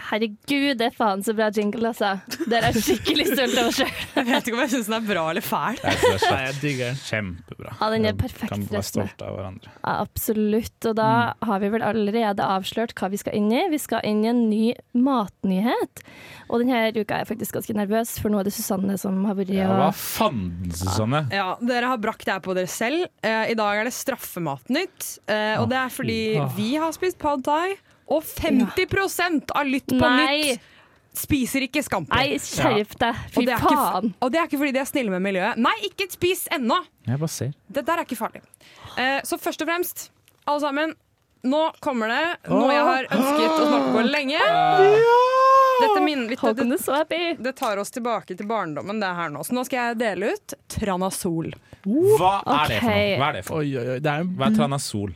Speaker 5: Herregud, det er faen så bra jingle, altså. Det er jeg skikkelig stolt over sjøl.
Speaker 8: Jeg vet ikke om jeg syns den er bra eller fæl.
Speaker 7: Nei, jeg digger den.
Speaker 6: Kjempebra.
Speaker 5: Ja, den er
Speaker 6: Vi
Speaker 5: perfekt
Speaker 6: Kan være
Speaker 5: resten.
Speaker 6: stolte av hverandre.
Speaker 5: Ja, absolutt. Og da
Speaker 6: Mm.
Speaker 5: har vi vel allerede avslørt hva vi skal inn i. Vi skal inn i en ny matnyhet. Og denne uka er jeg faktisk ganske nervøs, for nå er det Susanne som har vært
Speaker 6: Ja, hva
Speaker 5: og
Speaker 6: fanden, Susanne?
Speaker 8: Ja, Dere har brakt det her på dere selv. Eh, I dag er det straffematnytt. Eh, og det er fordi vi har spist pad thai, og 50 av Lytt på
Speaker 5: Nei.
Speaker 8: nytt spiser ikke scampi.
Speaker 5: Nei, skjerp deg!
Speaker 8: Og
Speaker 5: Fy
Speaker 8: det er ikke-
Speaker 5: faen!
Speaker 8: Og det er ikke fordi de er snille med miljøet. Nei, ikke spis ennå!
Speaker 6: Jeg bare ser.
Speaker 8: Det der er ikke farlig. Eh, så først og fremst, alle sammen, nå kommer det noe jeg har ønsket å snakke på lenge. Dette min, litt,
Speaker 5: Håkon
Speaker 8: det,
Speaker 5: er så happy!
Speaker 8: det tar oss tilbake til barndommen, det her nå. Så nå skal jeg dele ut Tranasol.
Speaker 6: Hva er det
Speaker 5: Ok.
Speaker 6: for noe?
Speaker 5: Mm.
Speaker 6: Hva er det for noe?
Speaker 7: Oi, oi, oi. Det er en,
Speaker 6: Hva er tranasol?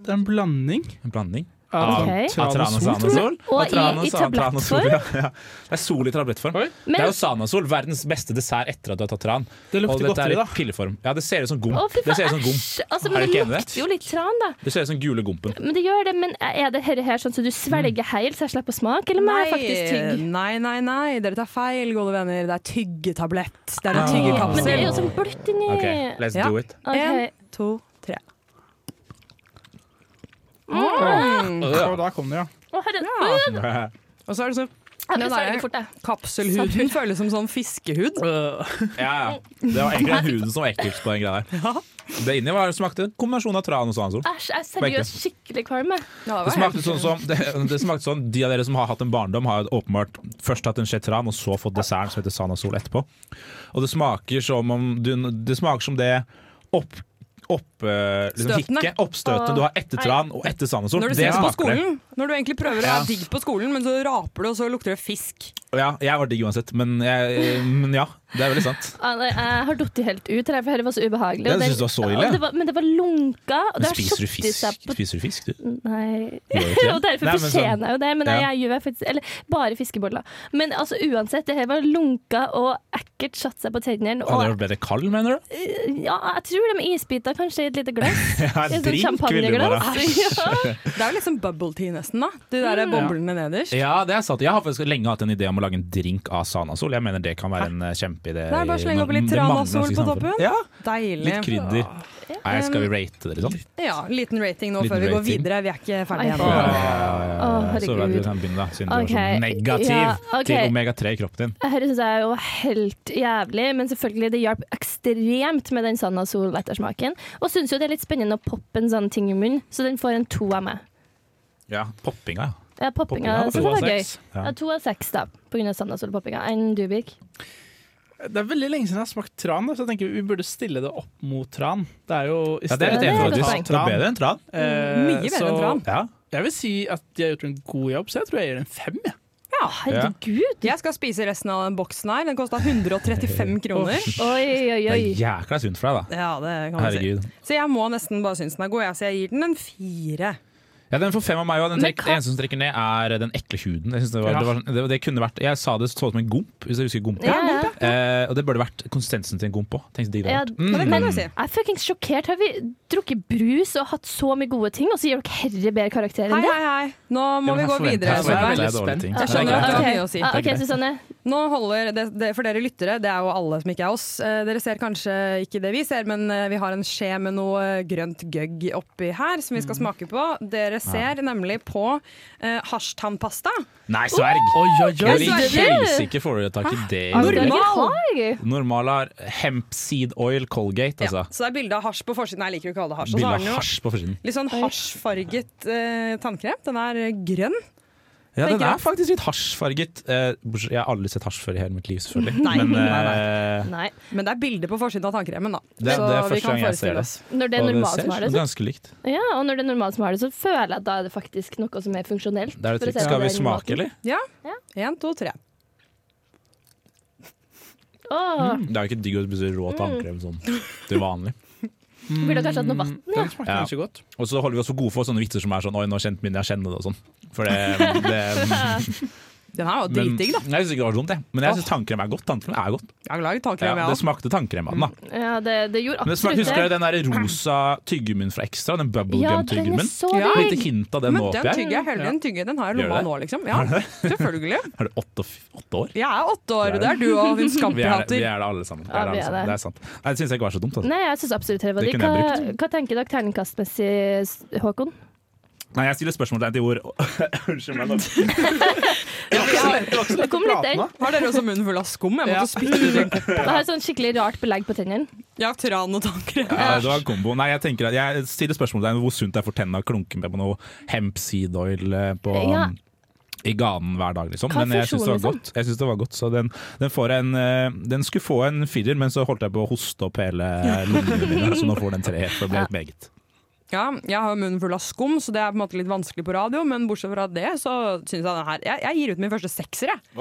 Speaker 7: det er en blanding
Speaker 6: En blanding?
Speaker 7: av
Speaker 5: Ok.
Speaker 6: Av
Speaker 7: tranasol, tror jeg.
Speaker 6: tranasol?
Speaker 5: Og
Speaker 6: Av
Speaker 5: i-
Speaker 6: tranas-
Speaker 5: i
Speaker 6: av tranasol,
Speaker 5: tablettform?
Speaker 6: ja, ja. Det er sol i tablettform.
Speaker 7: Oi.
Speaker 6: Det
Speaker 5: Men-
Speaker 6: er jo Sanasol, verdens beste dessert etter at du har tatt tran.
Speaker 7: Det
Speaker 6: Og
Speaker 7: lukter
Speaker 6: dette er
Speaker 7: godteri,
Speaker 6: i
Speaker 7: da.
Speaker 6: pilleform. Ja, det ser ut som gom.
Speaker 5: Å, fy
Speaker 6: Det ser
Speaker 5: faen,
Speaker 6: ut som gom.
Speaker 5: æsj! Altså,
Speaker 6: Er
Speaker 5: men
Speaker 6: du
Speaker 5: det
Speaker 6: ikke enig i
Speaker 5: lukter
Speaker 6: det?
Speaker 5: jo litt tran, da.
Speaker 6: Det ser ut som gule gompen.
Speaker 5: Men det gjør det, men er det her, her sånn så du
Speaker 6: Mm.
Speaker 5: svelger helt så jeg slipper å smake, eller må jeg faktisk tygge?
Speaker 8: nei, nei, nei. Dere tar feil, gode venner. Det er tyggetablett. Det er en
Speaker 5: Men det er
Speaker 8: tyggekapsel.
Speaker 5: jo sånn bløtt inni.
Speaker 6: OK, let's
Speaker 8: Ja.
Speaker 6: do it.
Speaker 5: Ok.
Speaker 8: En, to, tre.
Speaker 5: Mm.
Speaker 8: Mm.
Speaker 7: Og da kom det, ja.
Speaker 5: Å, herre-
Speaker 8: Og så er det sånn
Speaker 5: Jeg
Speaker 8: Den
Speaker 5: blir
Speaker 8: der-
Speaker 5: svelget fort, jeg.
Speaker 8: kapselhuden føles som sånn fiskehud.
Speaker 6: Ja, ja. Det var egentlig den huden som var ekkelst på den greia der. Det inni var smakte en kombinasjon av tran og Sanasol.
Speaker 5: Æsj, jeg er seriøst skikkelig kvalm. jeg.
Speaker 8: Ja,
Speaker 6: Det
Speaker 8: var helt-
Speaker 6: smakte sånn som det, det smakte sånn, De av dere som har hatt en barndom, har åpenbart først hatt en chetran og så fått desserten som heter Sanasol etterpå. Og det smaker som om du, Det smaker som det opp, opp, eh, liksom,
Speaker 8: Støtene.
Speaker 6: hikket, oppstøtet du har etter tran og etter Sanasol.
Speaker 8: Når du
Speaker 6: Det
Speaker 8: sitter på
Speaker 6: smaker det.
Speaker 8: skolen, når du egentlig prøver å
Speaker 6: Ja.
Speaker 8: være digg på skolen, men så raper du, og så lukter det fisk.
Speaker 6: Ja, jeg var digg uansett, men, jeg, men ja. Det er veldig sant.
Speaker 5: Ah, nei, Jeg har datt helt ut, her, for dette var så ubehagelig.
Speaker 6: Jeg
Speaker 5: og
Speaker 6: synes det var så ille.
Speaker 5: og det var, men det var lunka. Og det
Speaker 6: Men
Speaker 5: har
Speaker 6: spiser
Speaker 5: satt
Speaker 6: du
Speaker 5: i
Speaker 6: fisk?
Speaker 5: seg På,
Speaker 6: Spiser du fisk, du?
Speaker 5: nei.
Speaker 6: Gjør du ikke det?
Speaker 5: og derfor
Speaker 6: Nei, men sånn-
Speaker 5: fortjener jeg jo det, men nei,
Speaker 6: Ja.
Speaker 5: jeg gjør faktisk Eller bare fiskeboller. Men altså, uansett, det her var lunka og ekkelt satt seg på tennene.
Speaker 6: Hadde
Speaker 5: Og øh,
Speaker 6: det blitt kald, mener du?
Speaker 5: ja, jeg tror de isbiter kanskje i et lite glass.
Speaker 6: Ja,
Speaker 5: I et sånt champagneglass. Ja.
Speaker 8: Det er jo liksom bubble tea nesten, da. De der boblene nederst.
Speaker 6: Ja, det er sant. Jeg har faktisk lenge hatt en idé om å lage en drink av Sanasol. Jeg mener det kan være en eh, kjempeidé.
Speaker 8: Nei, bare
Speaker 6: i-
Speaker 8: slenge oppi litt
Speaker 6: sånn det mangler
Speaker 8: Tranasol
Speaker 6: ganske
Speaker 8: på
Speaker 6: samfunn.
Speaker 8: toppen.
Speaker 6: Ja,
Speaker 8: Deilig.
Speaker 6: litt krydder. Nei, skal vi rate det, liksom?
Speaker 8: Ja, liten rating nå
Speaker 6: Liten
Speaker 8: før vi går
Speaker 6: rating.
Speaker 8: videre. Vi er ikke ferdige
Speaker 5: Ai,
Speaker 8: ennå.
Speaker 5: faen. Å,
Speaker 6: Så bra du
Speaker 5: herregud.
Speaker 6: kan begynne, da. Siden du var
Speaker 5: Ok,
Speaker 6: så negativ
Speaker 5: ja, ok.
Speaker 6: til omega-3 i kroppen din.
Speaker 5: Dette syns jeg er jo helt jævlig, men selvfølgelig det hjalp ekstremt med den sanda sol-ettersmaken. Og syns jo det er litt spennende å poppe en sånn ting i munnen, så den får en to av meg.
Speaker 6: Ja, poppinga, ja.
Speaker 5: Ja, poppinga
Speaker 6: Poppinga,
Speaker 5: synes jeg var
Speaker 6: to av
Speaker 5: gøy.
Speaker 6: seks. Ja.
Speaker 5: Ja, to av seks, da, pga. Sandnesol-poppinga. Enn du, Birk?
Speaker 7: Det er veldig lenge siden jeg har smakt tran, da, så jeg tenker vi burde stille det opp mot tran. Det er jo i
Speaker 6: ja det er
Speaker 5: Ja,
Speaker 6: litt
Speaker 5: det er
Speaker 6: enig,
Speaker 5: godt
Speaker 6: faktisk.
Speaker 5: poeng.
Speaker 6: Det er bedre enn tran.
Speaker 8: Mye bedre enn tran.
Speaker 6: Ja.
Speaker 7: Eh, Jeg vil si at de har gjort en god jobb, så jeg tror jeg gir den fem. Jeg.
Speaker 5: Herregud!
Speaker 8: Jeg skal spise resten av den boksen her. Den kosta 135 kroner.
Speaker 5: Oi, oi,
Speaker 6: Det
Speaker 5: oi.
Speaker 6: er jækla sunt for deg,
Speaker 8: Ja, det kan
Speaker 6: da.
Speaker 8: man si.
Speaker 6: Herregud.
Speaker 8: Så jeg må nesten bare synes den er god, jeg. Så jeg gir den en fire.
Speaker 6: Ja, den får fem av meg òg. Den
Speaker 5: Men
Speaker 6: trekk-
Speaker 5: hva-
Speaker 6: eneste som trekker ned, er den ekle huden. Jeg, synes det var,
Speaker 7: Ja.
Speaker 6: det var, sånn- det, det kunne vært, jeg sa det så ut som en gomp, hvis jeg husker gomp.
Speaker 5: Ja, ja.
Speaker 6: Eh, og det burde vært konsistensen til en gomp òg. Tenk så digg det
Speaker 5: Ja,
Speaker 6: hadde vært. Mm.
Speaker 8: Ja, det kan
Speaker 5: men
Speaker 8: du si.
Speaker 5: jeg er fuckings sjokkert. Har vi drukket brus og hatt så mye gode ting, og så gir dere herre bedre karakter
Speaker 8: Hei,
Speaker 5: enn det?
Speaker 8: hei, hei. Nå må
Speaker 6: Ja, men
Speaker 8: vi
Speaker 6: her
Speaker 8: gå
Speaker 6: forventer
Speaker 8: videre.
Speaker 7: så
Speaker 6: jeg-
Speaker 7: er
Speaker 8: Solveig.
Speaker 7: det
Speaker 6: forventer jeg dårlige
Speaker 8: Jeg
Speaker 6: ting. Ja, det er
Speaker 8: skjønner at
Speaker 6: greit.
Speaker 8: du har
Speaker 5: Ok.
Speaker 8: mye å si.
Speaker 5: Ah, ok,
Speaker 6: Det er greit.
Speaker 5: Susanne.
Speaker 8: Nå holder det, det For dere lyttere, det er jo alle som ikke er oss. Eh, Dere ser kanskje ikke det vi ser, men eh, vi har en skje med noe eh, grønt gøgg oppi her som vi
Speaker 6: Mm.
Speaker 8: skal smake på. Dere ser nemlig på eh, hasjtannpasta.
Speaker 6: Nei, sverg!
Speaker 7: Oi, oi,
Speaker 6: Jeg
Speaker 7: oi.
Speaker 5: Yes,
Speaker 6: liker
Speaker 5: sverg!
Speaker 6: helsike får du tak i det.
Speaker 5: Ah, det er
Speaker 8: Normal.
Speaker 5: ikke hag.
Speaker 6: Normal har hemp seed oil Colgate,
Speaker 8: Ja,
Speaker 6: altså.
Speaker 8: så det er bilde av hasj på forsiden. Nei, jeg liker jo ikke å kalle det hasj. Og så
Speaker 6: Bilde
Speaker 8: har den
Speaker 6: av
Speaker 8: jo
Speaker 6: hasj på forsiden.
Speaker 8: litt sånn hasjfarget eh, tannkrem. Den er eh, grønn.
Speaker 6: Ja, den
Speaker 8: Tenker
Speaker 6: er
Speaker 8: jeg.
Speaker 6: faktisk litt hasjfarget. Eh, bortsett- jeg har aldri sett hasj før i hele mitt liv, selvfølgelig.
Speaker 8: Nei,
Speaker 6: Men
Speaker 8: nei,
Speaker 6: eh,
Speaker 5: Nei.
Speaker 8: Men det er bilde på forsiden av tannkremen, da.
Speaker 6: det,
Speaker 8: Så
Speaker 6: det er
Speaker 8: vi
Speaker 6: første
Speaker 8: kan
Speaker 6: gang jeg
Speaker 8: forestille
Speaker 6: ser det.
Speaker 8: oss.
Speaker 5: Når det er
Speaker 6: Og
Speaker 5: normalt
Speaker 6: ser
Speaker 5: som har det, så
Speaker 6: ganske likt.
Speaker 5: Ja, og når det er normalt som har det, så føler jeg at da er det faktisk noe som er funksjonelt.
Speaker 6: Det
Speaker 5: for å
Speaker 6: er et
Speaker 5: se
Speaker 6: triks.
Speaker 5: om det
Speaker 6: Skal vi
Speaker 5: er
Speaker 6: smake, eller?
Speaker 8: Ja.
Speaker 5: Ja.
Speaker 8: Én, to, tre.
Speaker 5: Åh,
Speaker 6: Det er jo ikke digg å spise
Speaker 5: Mm.
Speaker 6: rå tannkrem sånn til vanlig.
Speaker 5: Burde kanskje hatt noe vann, ja.
Speaker 7: Mm, Den smakte
Speaker 6: Ja.
Speaker 7: ganske godt.
Speaker 6: Og så holder vi oss for gode for sånne vitser som er sånn Oi, nå kjente min, jeg kjenner det, og sånn. For det, det
Speaker 8: Den her var jo
Speaker 6: men,
Speaker 8: dritdigg, da.
Speaker 6: Jeg syns ikke det var dumt, jeg. Men jeg syns tannkrem er godt. Tannkrem er godt.
Speaker 8: Jeg har laget
Speaker 6: Ja,
Speaker 8: tannkrem, jeg
Speaker 6: det
Speaker 8: også.
Speaker 6: smakte tannkrem av den, da.
Speaker 5: ja, det, det gjorde
Speaker 6: Men det smakte,
Speaker 5: Mm. absolutt
Speaker 6: husker dere den der rosa tyggummien fra Extra?
Speaker 5: Ja, den
Speaker 6: Den
Speaker 5: er
Speaker 6: bubblegum-tyggummin?
Speaker 5: så
Speaker 8: Ja.
Speaker 6: Lite
Speaker 5: digg!
Speaker 6: hint av den
Speaker 8: Men
Speaker 6: nå oppi
Speaker 8: den
Speaker 6: her.
Speaker 8: tygger jeg hele tiden. Tygger. Den har jeg i
Speaker 6: Gjør
Speaker 8: lomma
Speaker 6: det?
Speaker 8: nå, liksom. Ja, selvfølgelig.
Speaker 6: Er det åtte, åtte år?
Speaker 8: Jeg er åtte år,
Speaker 6: Det er
Speaker 8: det er du og din
Speaker 6: Vi er, vi
Speaker 8: skampihater.
Speaker 6: er det alle sammen. Vi
Speaker 5: Ja,
Speaker 6: er det,
Speaker 5: vi
Speaker 6: alle
Speaker 5: er
Speaker 6: sammen.
Speaker 5: det.
Speaker 6: det er sant. Nei, Det syns jeg ikke var så dumt. Altså.
Speaker 5: Nei, jeg syns absolutt det var
Speaker 6: Det
Speaker 5: digg.
Speaker 6: kunne
Speaker 5: Hva,
Speaker 6: jeg
Speaker 5: hva tenker dere terningkastmessig, s- Håkon?
Speaker 6: Nei, jeg stiller spørsmålstegn til ord. Unnskyld meg. da.
Speaker 5: Det kom litt den.
Speaker 8: Har dere også munnen full av skum? Jeg måtte spytte ut en kopp.
Speaker 5: Det har sånn skikkelig rart belegg på tennene.
Speaker 8: Jeg har tran og tannkrem.
Speaker 6: Ja, det var en kombo. Nei, jeg, tenker at jeg stiller spørsmålstegn ved hvor sunt det er for tenna å klunke med på noe hemp seed oil eh, på,
Speaker 5: Ja.
Speaker 6: i ganen hver dag, liksom.
Speaker 5: Hva er
Speaker 6: Men jeg syns det, var
Speaker 5: funksjonen,
Speaker 6: godt. Jeg synes det var godt. Så den, den, får en, eh, den skulle få en firer, men så holdt jeg på å hoste opp hele lungene mine, så nå får den tre. For det ble helt meget.
Speaker 8: Ja, jeg har munnen full av skum, så det er på en måte litt vanskelig på radio. Men bortsett fra det, så syns jeg den her Jeg, jeg gir ut min første sekser, jeg.
Speaker 6: Du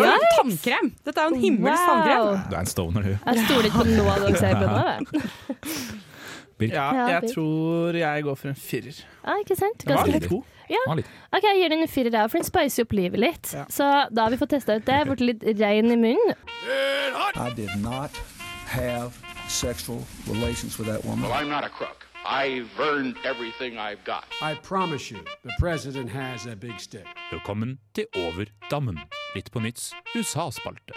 Speaker 8: Ja, tannkrem! Dette er jo en himmelsk tannkrem.
Speaker 6: er en stoner, du.
Speaker 5: Jeg stoler ikke på noe av det dere sier på nå. jeg.
Speaker 7: Ja,
Speaker 5: Ja,
Speaker 7: jeg
Speaker 5: det-
Speaker 7: tror jeg går for en firer.
Speaker 5: Ja, Ah, ikke sant?
Speaker 7: Den var
Speaker 5: Ganske
Speaker 7: litt god.
Speaker 6: Han er litt-
Speaker 5: OK, jeg gir den en firer, der, for den spicer jo opp livet litt.
Speaker 7: Ja.
Speaker 5: Så da har vi fått testa ut det. Blitt litt rein i munnen.
Speaker 10: I did not have sexual relations with that woman.
Speaker 11: Well, I'm not a crook. I've earned everything I've got.
Speaker 10: I promise you, the president has a big stick.
Speaker 6: Velkommen til Over dammen. Litt på nytts USA-spalte.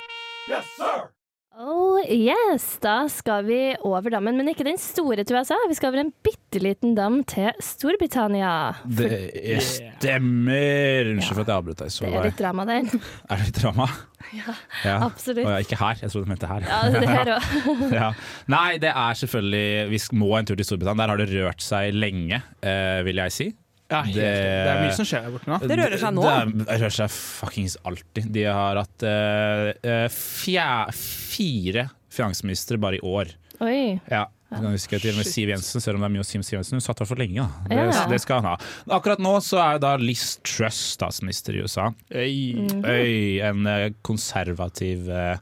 Speaker 5: Oh yes, da skal vi over dammen, men ikke den store til USA. Vi skal over en bitte liten dam til Storbritannia.
Speaker 6: Det er stemmer! Unnskyld for at jeg avbrøt deg. Så
Speaker 5: Det er litt drama der.
Speaker 6: er det litt drama? Ja,
Speaker 5: Absolutt.
Speaker 6: Å ja, ikke her. Jeg trodde du mente her.
Speaker 5: Ja, det her også.
Speaker 6: ja. Nei, det er selvfølgelig Vi sk- må en tur til Storbritannia. Der har det rørt seg lenge, eh, vil jeg si.
Speaker 7: Ja, helt
Speaker 6: Det-
Speaker 7: enig. det er mye som skjer der borte nå.
Speaker 8: Det rører seg nå.
Speaker 6: Det er- Det rører seg fuckings alltid. De har hatt eh, eh, fja, fire finansministre bare i år.
Speaker 5: Oi.
Speaker 6: Ja. Jeg kan huske til og med Siv Jensen, selv om det er mye om Siv Siv Jensen. Hun satt der for lenge, da. Det,
Speaker 5: Ja.
Speaker 6: det skal han ha. Akkurat nå så er da Liz Truss statsminister i USA. Mm. Øy, en eh, konservativ eh,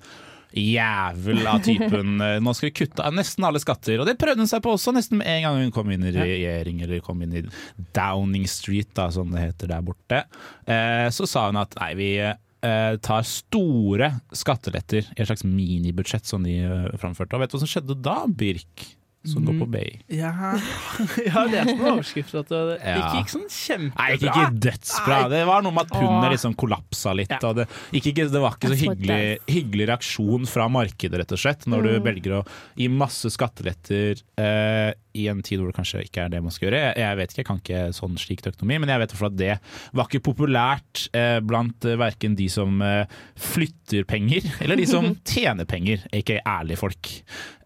Speaker 6: jævel av typen eh, Nå skal vi kutte av nesten alle skatter. Og det prøvde hun seg på også, nesten med en gang hun kom inn i regjering, eller kom inn i Downing Street, da, som det heter der borte. Eh, Så sa hun at nei, vi eh, tar store skatteletter i et slags minibudsjett som de eh, framførte. Og vet du hva som skjedde da, Birk? Som går på Bay.
Speaker 7: Ja, jeg har lest noen overskrifter at det
Speaker 6: Ja.
Speaker 7: ikke gikk sånn
Speaker 6: Nei, ikke,
Speaker 7: kjempebra.
Speaker 6: ikke dødsbra. Det var noe med at pundet liksom kollapsa litt.
Speaker 7: Ja.
Speaker 6: Og det, ikke, ikke, det var ikke så
Speaker 5: Jeg får
Speaker 6: hyggelig, hyggelig reaksjon fra markedet, rett og slett, når du
Speaker 5: Mm.
Speaker 6: velger å gi masse skatteletter eh, i en tid hvor det kanskje ikke er det man skal gjøre. Jeg, jeg vet ikke, jeg kan ikke sånn slik økonomi, men jeg vet i hvert fall at det var ikke populært eh, blant eh, verken de som eh, flytter penger, eller de som tjener penger, ikke ærlige folk.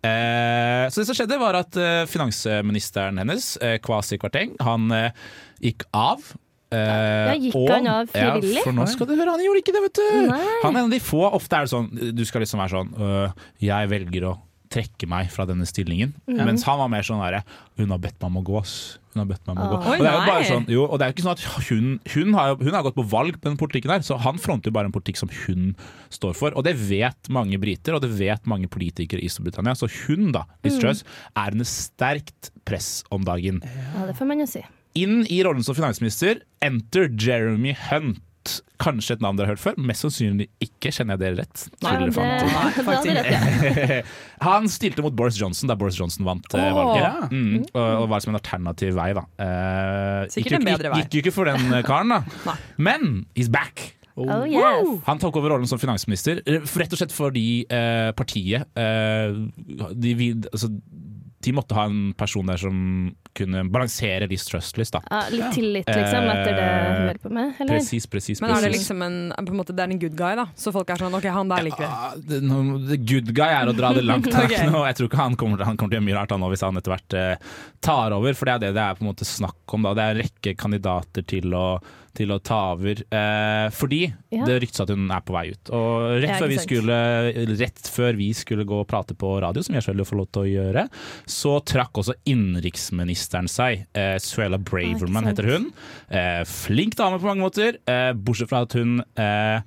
Speaker 6: Eh, så det som skjedde var at eh, finansministeren hennes, eh, Kwasi Kwarteng, han eh, gikk av. Eh,
Speaker 5: Ja, gikk
Speaker 6: og-
Speaker 5: han av
Speaker 6: Ja,
Speaker 5: frivillig?
Speaker 6: for nå skal du høre, han gjorde ikke det, vet du!
Speaker 5: Nei.
Speaker 6: Han er en av de få. Ofte er det sånn Du skal liksom være sånn øh, Jeg velger å trekke meg fra denne stillingen.
Speaker 5: Mm.
Speaker 6: Mens han var mer sånn derre Hun har bedt meg om å gå, ass. Hun har bedt meg om å gå.
Speaker 5: Åh.
Speaker 6: Og det er jo bare
Speaker 8: Oi, nei.
Speaker 6: sånn jo, og det er jo ikke sånn at hun, hun, har, jo- hun har gått på valg på den politikken her, så han fronter jo bare en politikk som hun står for. Og det vet mange briter, og det vet mange politikere i Storbritannia. Så hun, da, Liz Truss, er under sterkt press om dagen.
Speaker 5: Ja, det får man jo si.
Speaker 6: Inn i rollen som finansminister, enter Jeremy Hunt. Kanskje et navn dere har hørt før, mest sannsynlig ikke, kjenner jeg dere rett.
Speaker 5: Ja,
Speaker 6: Tuller
Speaker 5: det,
Speaker 6: og fant.
Speaker 5: det hadde rett, ja.
Speaker 8: eh,
Speaker 6: Han stilte mot Boris Johnson da Boris Johnson vant eh, valget.
Speaker 7: Ja.
Speaker 6: Mm, og, og var som en alternativ vei, da. Eh,
Speaker 8: Sikkert
Speaker 6: gikk jo
Speaker 8: en
Speaker 6: ikke-
Speaker 8: bedre vei.
Speaker 6: Gikk jo ikke for den eh, karen, da. Men he's back!
Speaker 5: Oh, yes.
Speaker 6: Han tok over rollen som finansminister, eh, for- rett og slett fordi eh, partiet eh, de, vil- altså, de måtte ha en person der som kunne balansere Liz Trustlist, da.
Speaker 5: Ja, litt tillit, liksom,
Speaker 6: Eh,
Speaker 5: etter det hun holder på med? Eller?
Speaker 6: Presis, presis,
Speaker 8: Men er det
Speaker 6: presis.
Speaker 8: liksom en, på en måte, det er en good guy, da? Så folk er sånn OK, han der liker vi.
Speaker 6: Ah, det- nå- The good guy er å dra det langt. her
Speaker 8: Ok.
Speaker 6: nå. Jeg tror ikke han kommer, han kommer til å gjøre mye rart han nå hvis han etter hvert eh, tar over, for det er det det er på en måte snakk om. Da. Det er en rekke kandidater til å, til å ta over. Eh, fordi
Speaker 5: Ja.
Speaker 6: det ryktes at hun er på vei ut. Og rett
Speaker 5: Ja, ikke
Speaker 6: før, vi
Speaker 5: sant.
Speaker 6: skulle, rett før vi skulle gå og prate på radio, som jeg selv får lov til å gjøre, så trakk også innenriksministeren seg. Eh, Suella Braverman
Speaker 5: Ja, ikke sant.
Speaker 6: heter hun. Eh, flink dame på mange måter, eh, bortsett fra at hun eh,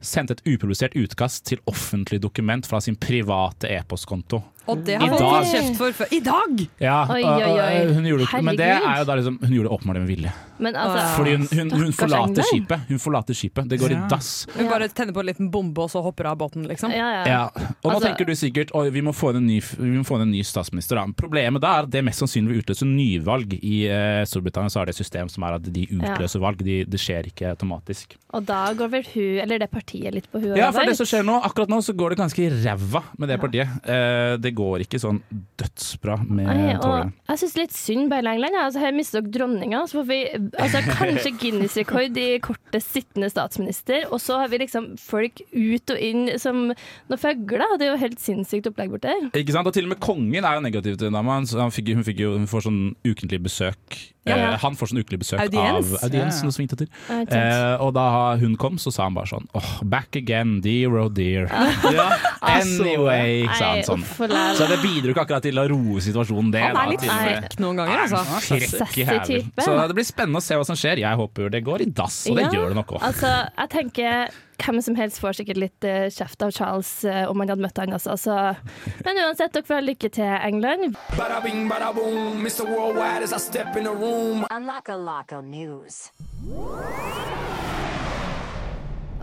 Speaker 6: sendte et upublisert utkast til offentlig dokument fra sin private e-postkonto.
Speaker 8: Og det
Speaker 6: I
Speaker 8: har folk
Speaker 6: dag.
Speaker 8: fått kjeft for før. I dag!
Speaker 6: Ja,
Speaker 5: Oi,
Speaker 6: og- og, eh,
Speaker 5: oi, oi.
Speaker 6: Hun gjorde, det- men det er jo
Speaker 5: Herregud.
Speaker 6: da liksom, hun gjorde det åpenbart med vilje.
Speaker 5: Men altså,
Speaker 6: Fordi hun, hun, hun,
Speaker 5: Stakkars
Speaker 6: forlater
Speaker 5: England.
Speaker 6: skipet. Hun forlater skipet. Det går i
Speaker 7: Ja.
Speaker 6: dass.
Speaker 8: Hun bare tenner på en liten bombe, og så hopper av båten, liksom.
Speaker 5: ja, ja.
Speaker 6: Ja. Og nå
Speaker 5: Altså-
Speaker 6: tenker du sikkert Oi, vi må få inn en ny, vi må få inn en ny statsminister. Da. Problemet da er at det mest sannsynlig vil utløse nyvalg. I eh, Storbritannia så er det et system som er at de utløser valg, de, det skjer ikke automatisk.
Speaker 5: Og da går vel hun, eller det partiet, litt på hun
Speaker 6: Ja,
Speaker 5: og
Speaker 6: for
Speaker 5: Robert.
Speaker 6: det som skjer nå, akkurat nå så går det ganske ræva med det partiet. Eh, det går ikke sånn dødsbra
Speaker 5: Nei,
Speaker 6: med
Speaker 5: og
Speaker 6: toget.
Speaker 5: jeg syns litt synd på hele England. ja. Altså, her mister dere dronninga. Så får vi altså, kanskje Guinness-rekord i kortest sittende statsminister. Og så har vi liksom folk ut og inn som noen fugler. Det er jo helt sinnssykt opplegg borti der.
Speaker 6: Ikke sant? Og til og med kongen er jo negativ til dama. Han, han fikk, hun, fikk jo, hun får sånn ukentlig besøk.
Speaker 5: Ja, ja.
Speaker 6: Eh, han får sånn ukentlig besøk
Speaker 8: Audiens.
Speaker 6: av audiensen og svingte til.
Speaker 5: Ja, ikke sant.
Speaker 6: Eh, og da hun kom, så sa han bare sånn Åh, Back again, dear oh dear. Anyway, sa han sånn.
Speaker 5: uff, lær.
Speaker 6: Så det bidro ikke akkurat til å roe situasjonen, det.
Speaker 8: Han
Speaker 6: da,
Speaker 8: er litt
Speaker 6: til-
Speaker 8: frekk noen ganger, altså.
Speaker 6: Frekk i
Speaker 5: Sassy
Speaker 6: hælen.
Speaker 5: type.
Speaker 6: Så det blir spennende å se hva som skjer. Jeg håper det går i dass, og det
Speaker 5: Ja,
Speaker 6: gjør det nok òg.
Speaker 5: Altså, jeg tenker hvem som helst får sikkert litt eh, kjeft av Charles eh, om han hadde møtt han, altså. Så. Men uansett, dere får ha lykke til, England.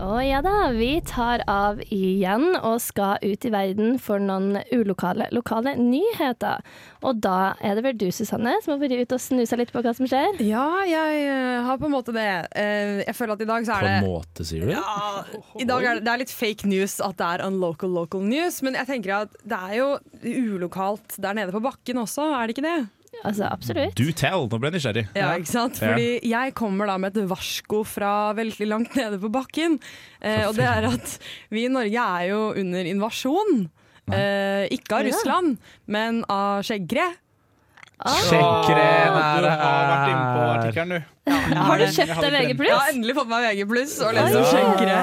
Speaker 5: Å ja da, vi tar av igjen og skal ut i verden for noen ulokale lokale nyheter. Og da er det vel du, Susanne, som har vært ute og snusa litt på hva som skjer?
Speaker 8: Ja, jeg eh, har på en måte det. Eh, jeg føler at i dag så
Speaker 6: På
Speaker 8: er det
Speaker 6: en måte, sier du?
Speaker 8: Ja, i dag er det, det er litt fake news at det er unlocal local news, men jeg tenker at det er jo ulokalt der nede på bakken også, er det ikke det?
Speaker 5: Altså, absolutt.
Speaker 6: Do tell, nå ble jeg nysgjerrig.
Speaker 8: Ja, ikke sant? Fordi jeg kommer da med et varsko fra veldig langt nede på bakken. Eh, og det er at vi i Norge er jo under invasjon. Eh, ikke av
Speaker 5: Ja.
Speaker 8: Russland, men av skjeggere.
Speaker 6: Sjekkere
Speaker 7: Du
Speaker 6: være
Speaker 7: har vært inne på
Speaker 6: her.
Speaker 7: artikkelen, du.
Speaker 5: Har du kjøpt
Speaker 7: hadde
Speaker 5: deg VG+.
Speaker 8: Jeg har endelig fått meg VG+, og leser
Speaker 6: Ja.
Speaker 8: om skjeggere.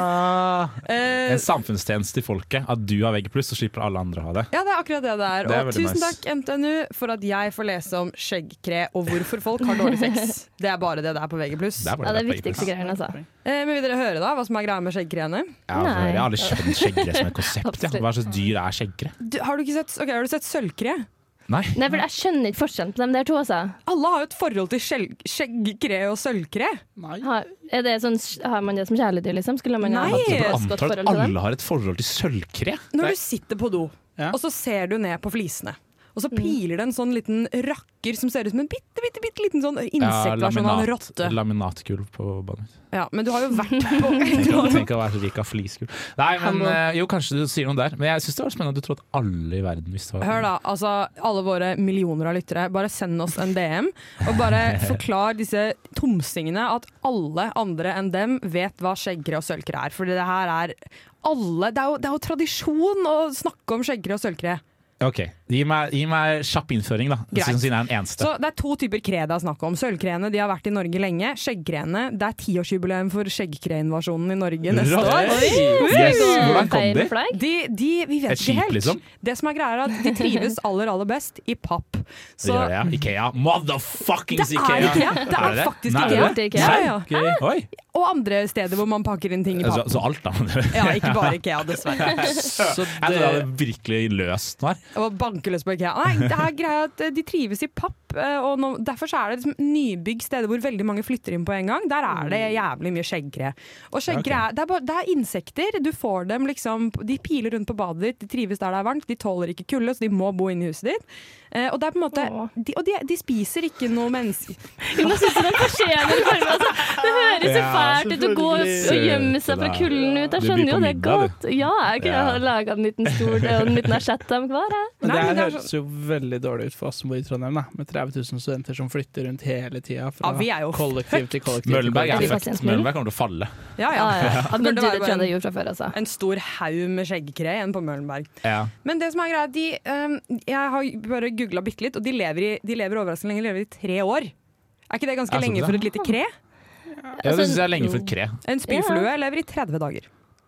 Speaker 8: Eh,
Speaker 6: En samfunnstjeneste til folket. At du har VG+, så slipper alle andre å ha det.
Speaker 8: ja, det er akkurat det det er.
Speaker 6: Det er
Speaker 8: Og
Speaker 6: veldig
Speaker 8: tusen
Speaker 6: nice.
Speaker 8: takk, NTNU, for at jeg får lese om skjeggkre og hvorfor folk har dårlig sex. Det er bare det det er på VG+.
Speaker 6: Der var
Speaker 5: Ja, det er
Speaker 6: der VG+.
Speaker 5: viktigste greien, altså.
Speaker 8: Eh, men vil dere høre da hva som er greia med skjeggkreene?
Speaker 6: Ja, for
Speaker 5: Nei.
Speaker 6: jeg har aldri skjønt skjeggere som et konsept. Ja.
Speaker 5: Absolutt.
Speaker 6: Hva slags dyr er skjeggere?
Speaker 8: Du, har, du ikke sett, ok, har du sett sølvkre?
Speaker 6: Nei.
Speaker 5: Nei, for jeg skjønner ikke forskjellen på dem der to, altså.
Speaker 8: Alle har jo et forhold til skjel- skjeggkre og sølvkre.
Speaker 7: Nei.
Speaker 5: Har, er det sånn, har man det som kjæledyr, liksom? Skulle man
Speaker 8: Nei.
Speaker 5: ha hatt et
Speaker 6: Jeg
Speaker 5: godt
Speaker 6: Altså, antar
Speaker 5: forhold
Speaker 6: at
Speaker 5: til dem?
Speaker 6: alle har et forhold til sølvkre.
Speaker 8: Når du sitter på do,
Speaker 7: Ja.
Speaker 8: og så ser du ned på flisene. Og så piler det en sånn liten rakker som ser ut som en bitte bitte, bitte liten sånn insektversjon av en
Speaker 6: laminat,
Speaker 8: rotte.
Speaker 6: laminatgulv på badet mitt.
Speaker 8: Ja, men du har jo vært på
Speaker 6: Tenk å- Tenk å være så rik av flisgulv. Nei, men
Speaker 5: Hallo.
Speaker 6: eh, jo, kanskje du sier noe der. Men jeg syns det var spennende at du trodde at alle i verden visste hva
Speaker 8: Hør da, altså alle våre millioner av lyttere, bare send oss en DM. Og bare forklar disse tomsingene at alle andre enn dem vet hva skjeggkre og sølvkre er. For det her er alle Det er jo, det er jo tradisjon å snakke om skjeggkre og sølvkre.
Speaker 6: Ok, Gi meg, gi meg kjapp innføring, da.
Speaker 8: Greit.
Speaker 6: Siden jeg er den eneste.
Speaker 8: Så det er to typer kre det er snakk om. Sølvkreene de har vært i Norge lenge. Skjeggkreene det er tiårsjubileum for skjeggkreinvasjonen i Norge neste
Speaker 6: Hurra!
Speaker 8: år.
Speaker 6: Oi! Yes, hvordan kom de?
Speaker 8: De, de, vi vet
Speaker 6: Et
Speaker 8: ikke
Speaker 6: skip,
Speaker 8: helt.
Speaker 6: liksom?
Speaker 8: Det som er greia er at De trives aller aller best i papp.
Speaker 6: Det gjør jeg. Ikea. Motherfuckings
Speaker 8: Det er
Speaker 6: Ikea!
Speaker 8: Ikea. Det er
Speaker 6: det?
Speaker 8: faktisk
Speaker 6: Nei,
Speaker 8: Ikea.
Speaker 6: er det?
Speaker 8: Ja, ja.
Speaker 6: Nei, gøy. Oi.
Speaker 8: Og andre steder hvor man pakker inn ting i
Speaker 6: Så,
Speaker 7: Altså-
Speaker 8: papp.
Speaker 6: så alt, da.
Speaker 8: Ja, ikke bare Ikea, dessverre.
Speaker 6: Så det... Jeg tror det hadde virkelig løst noe her.
Speaker 8: Og bankeløs på IKEA. Nei, det er greia at eh, de trives i papp. eh, Og nå, derfor så er det liksom nybygg steder hvor veldig mange flytter inn på en gang. Der er det jævlig mye skjeggkre. Og skjeggkre er, det, er bare, det er insekter. Du får dem liksom De piler rundt på badet ditt, de trives der det er varmt, de tåler ikke kulde, så de må bo inne i huset ditt. Eh, og det er på en måte de, Og de, de spiser ikke noe menneske...
Speaker 5: Jonas synes det fortjener varme. Altså, det høres så
Speaker 8: Ja,
Speaker 5: fælt ut å gå og
Speaker 8: selvfølgelig.
Speaker 5: gjemme seg fra kulden ut. Jeg
Speaker 6: Du byr
Speaker 5: skjønner
Speaker 6: på
Speaker 5: jo det
Speaker 6: middag,
Speaker 5: godt. Ja, jeg kunne
Speaker 6: Ja.
Speaker 5: ha laga en liten stol og en liten asjetta om hver. jeg.
Speaker 7: Men det her
Speaker 8: sånn-
Speaker 7: høres jo veldig dårlig ut for oss som bor i Trondheim, da. med 30 000 studenter som flytter rundt hele tida fra
Speaker 8: Ja, vi er jo
Speaker 7: kollektiv til kollektiv.
Speaker 6: Møllenberg
Speaker 7: til
Speaker 6: er
Speaker 7: kollektiv.
Speaker 6: fucked. Møllenberg kommer til å falle.
Speaker 8: Ja, ja.
Speaker 5: Ja, ja.
Speaker 8: Så
Speaker 5: Men du,
Speaker 8: burde være
Speaker 5: det
Speaker 8: bare en-
Speaker 5: skjønner jeg jo fra før, altså.
Speaker 8: En stor haug med skjeggkre igjen på Møllenberg.
Speaker 6: Ja.
Speaker 8: Men det som er greia, de, eh, jeg har bare googla bitte litt, og de lever, i, de lever overraskende lenge. De lever i tre år. Er ikke det ganske
Speaker 6: Er det
Speaker 8: lenge
Speaker 6: sant,
Speaker 8: for
Speaker 6: det?
Speaker 8: et lite kre?
Speaker 5: altså,
Speaker 6: Ja, det synes jeg er lenge for et kre.
Speaker 8: En spyflue lever i 30 dager.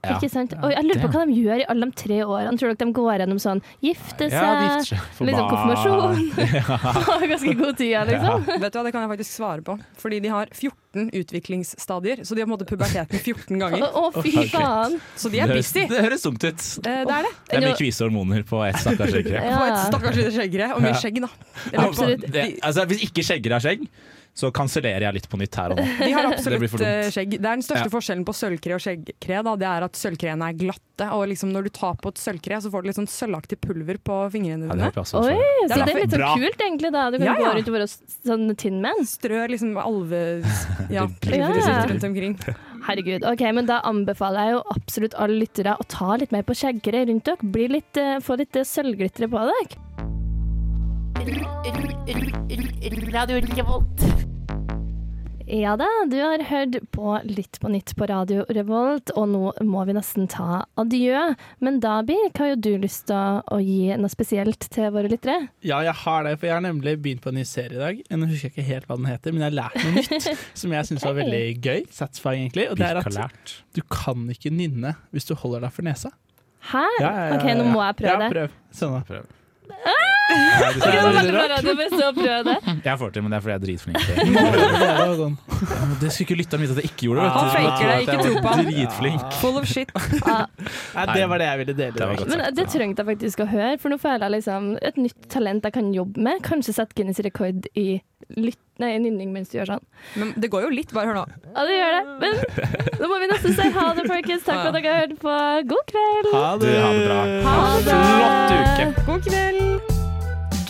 Speaker 6: Ja.
Speaker 5: Ikke sant? Og jeg lurer på hva de gjør i alle de tre årene. Tror dere de går gjennom sånn gifte seg,
Speaker 6: Ja, de gifter seg. For
Speaker 5: liksom
Speaker 6: barn.
Speaker 5: konfirmasjon? Har ganske god tid, ja, liksom.
Speaker 8: Vet du hva, Det kan jeg faktisk svare på. Fordi de har 14 utviklingsstadier. Så de har på en måte puberteten 14 ganger.
Speaker 5: Å, å, fy
Speaker 6: Ok.
Speaker 5: faen.
Speaker 8: Så de er
Speaker 6: Det høres-
Speaker 8: busy!
Speaker 6: Det høres tungt ut.
Speaker 8: Eh, Det er det.
Speaker 6: Det er mye kvise hormoner på ett stakkars skjeggkre.
Speaker 8: På et stakkars lite skjeggre. Og mye
Speaker 6: Ja.
Speaker 8: skjegg, da.
Speaker 6: Absolutt. Det, altså, hvis ikke skjegger er skjegg, så kansellerer jeg litt på nytt her og nå.
Speaker 8: De har
Speaker 6: Det blir
Speaker 8: absolutt
Speaker 6: for
Speaker 8: eh,
Speaker 6: dumt.
Speaker 8: skjegg. Det er Den største
Speaker 6: Ja.
Speaker 8: forskjellen på sølvkre og skjeggkre da, Det er at sølvkreene er glatte. Og liksom når du tar på et sølvkre, så får du litt sånn sølvaktig pulver på fingrene
Speaker 6: Ja, det
Speaker 8: dine.
Speaker 6: håper jeg også.
Speaker 5: Oi,
Speaker 6: for-
Speaker 5: så det er litt
Speaker 6: Bra.
Speaker 5: sånn kult, egentlig. da Du kan
Speaker 8: Ja, ja.
Speaker 5: gå rundt og være sånn Tin Man.
Speaker 8: Strør liksom alve... Ja,
Speaker 5: Ja.
Speaker 8: pulver sitt rundt omkring.
Speaker 5: Herregud. ok, men Da anbefaler jeg jo absolutt alle lyttere å ta litt mer på skjeggere rundt dere. Bli litt, eh, få litt eh, sølvglitre på dere.
Speaker 12: Radio Revolt.
Speaker 5: Ja da, du har hørt på Litt på nytt på Radio Revolt, og nå må vi nesten ta adjø. Men Dabi, hva har jo du lyst til å gi noe spesielt til våre lyttere?
Speaker 7: Ja, jeg har det, for jeg har nemlig begynt på en ny serie i dag. Nå husker jeg ikke helt hva den heter, men jeg har lært noe nytt som jeg syns var
Speaker 5: Hei.
Speaker 7: veldig gøy. Satisfying, egentlig. Og det er
Speaker 6: Birk har
Speaker 7: at du kan ikke nynne hvis du holder deg for nesa.
Speaker 5: Hæ? OK, nå må jeg prøve
Speaker 7: ja,
Speaker 5: det. Ah!
Speaker 7: Prøv. Sånn da.
Speaker 6: Ja, det
Speaker 5: Ok, det
Speaker 6: er
Speaker 5: var
Speaker 6: veldig
Speaker 5: veldig bra
Speaker 6: rart.
Speaker 5: radio, men så prøv det.
Speaker 6: Jeg får til, men det er fordi jeg er dritflink. sånn. Ja, Det skulle ikke lytteren vite at jeg ikke gjorde. vet du.
Speaker 8: Han faker det, ikke tro på
Speaker 6: Jeg var
Speaker 8: ham.
Speaker 6: Dritflink.
Speaker 8: Full of shit.
Speaker 7: Nei, det var det jeg ville dele.
Speaker 6: Det var godt
Speaker 5: Men
Speaker 6: sagt.
Speaker 5: det trengte jeg faktisk å høre, for nå føler jeg liksom et nytt talent jeg kan jobbe med. Kanskje sette Guinness rekord i lytt... Nei, nynning mens du gjør sånn.
Speaker 8: Men det går jo litt, bare hør nå.
Speaker 5: Ja, det gjør det. Men nå må vi nesten si ha det, folkens. Takk for at dere har hørt på. God kveld!
Speaker 7: Ha det.
Speaker 6: Du, ha det bra.
Speaker 12: Ha det.
Speaker 6: Flott uke.
Speaker 8: God kveld!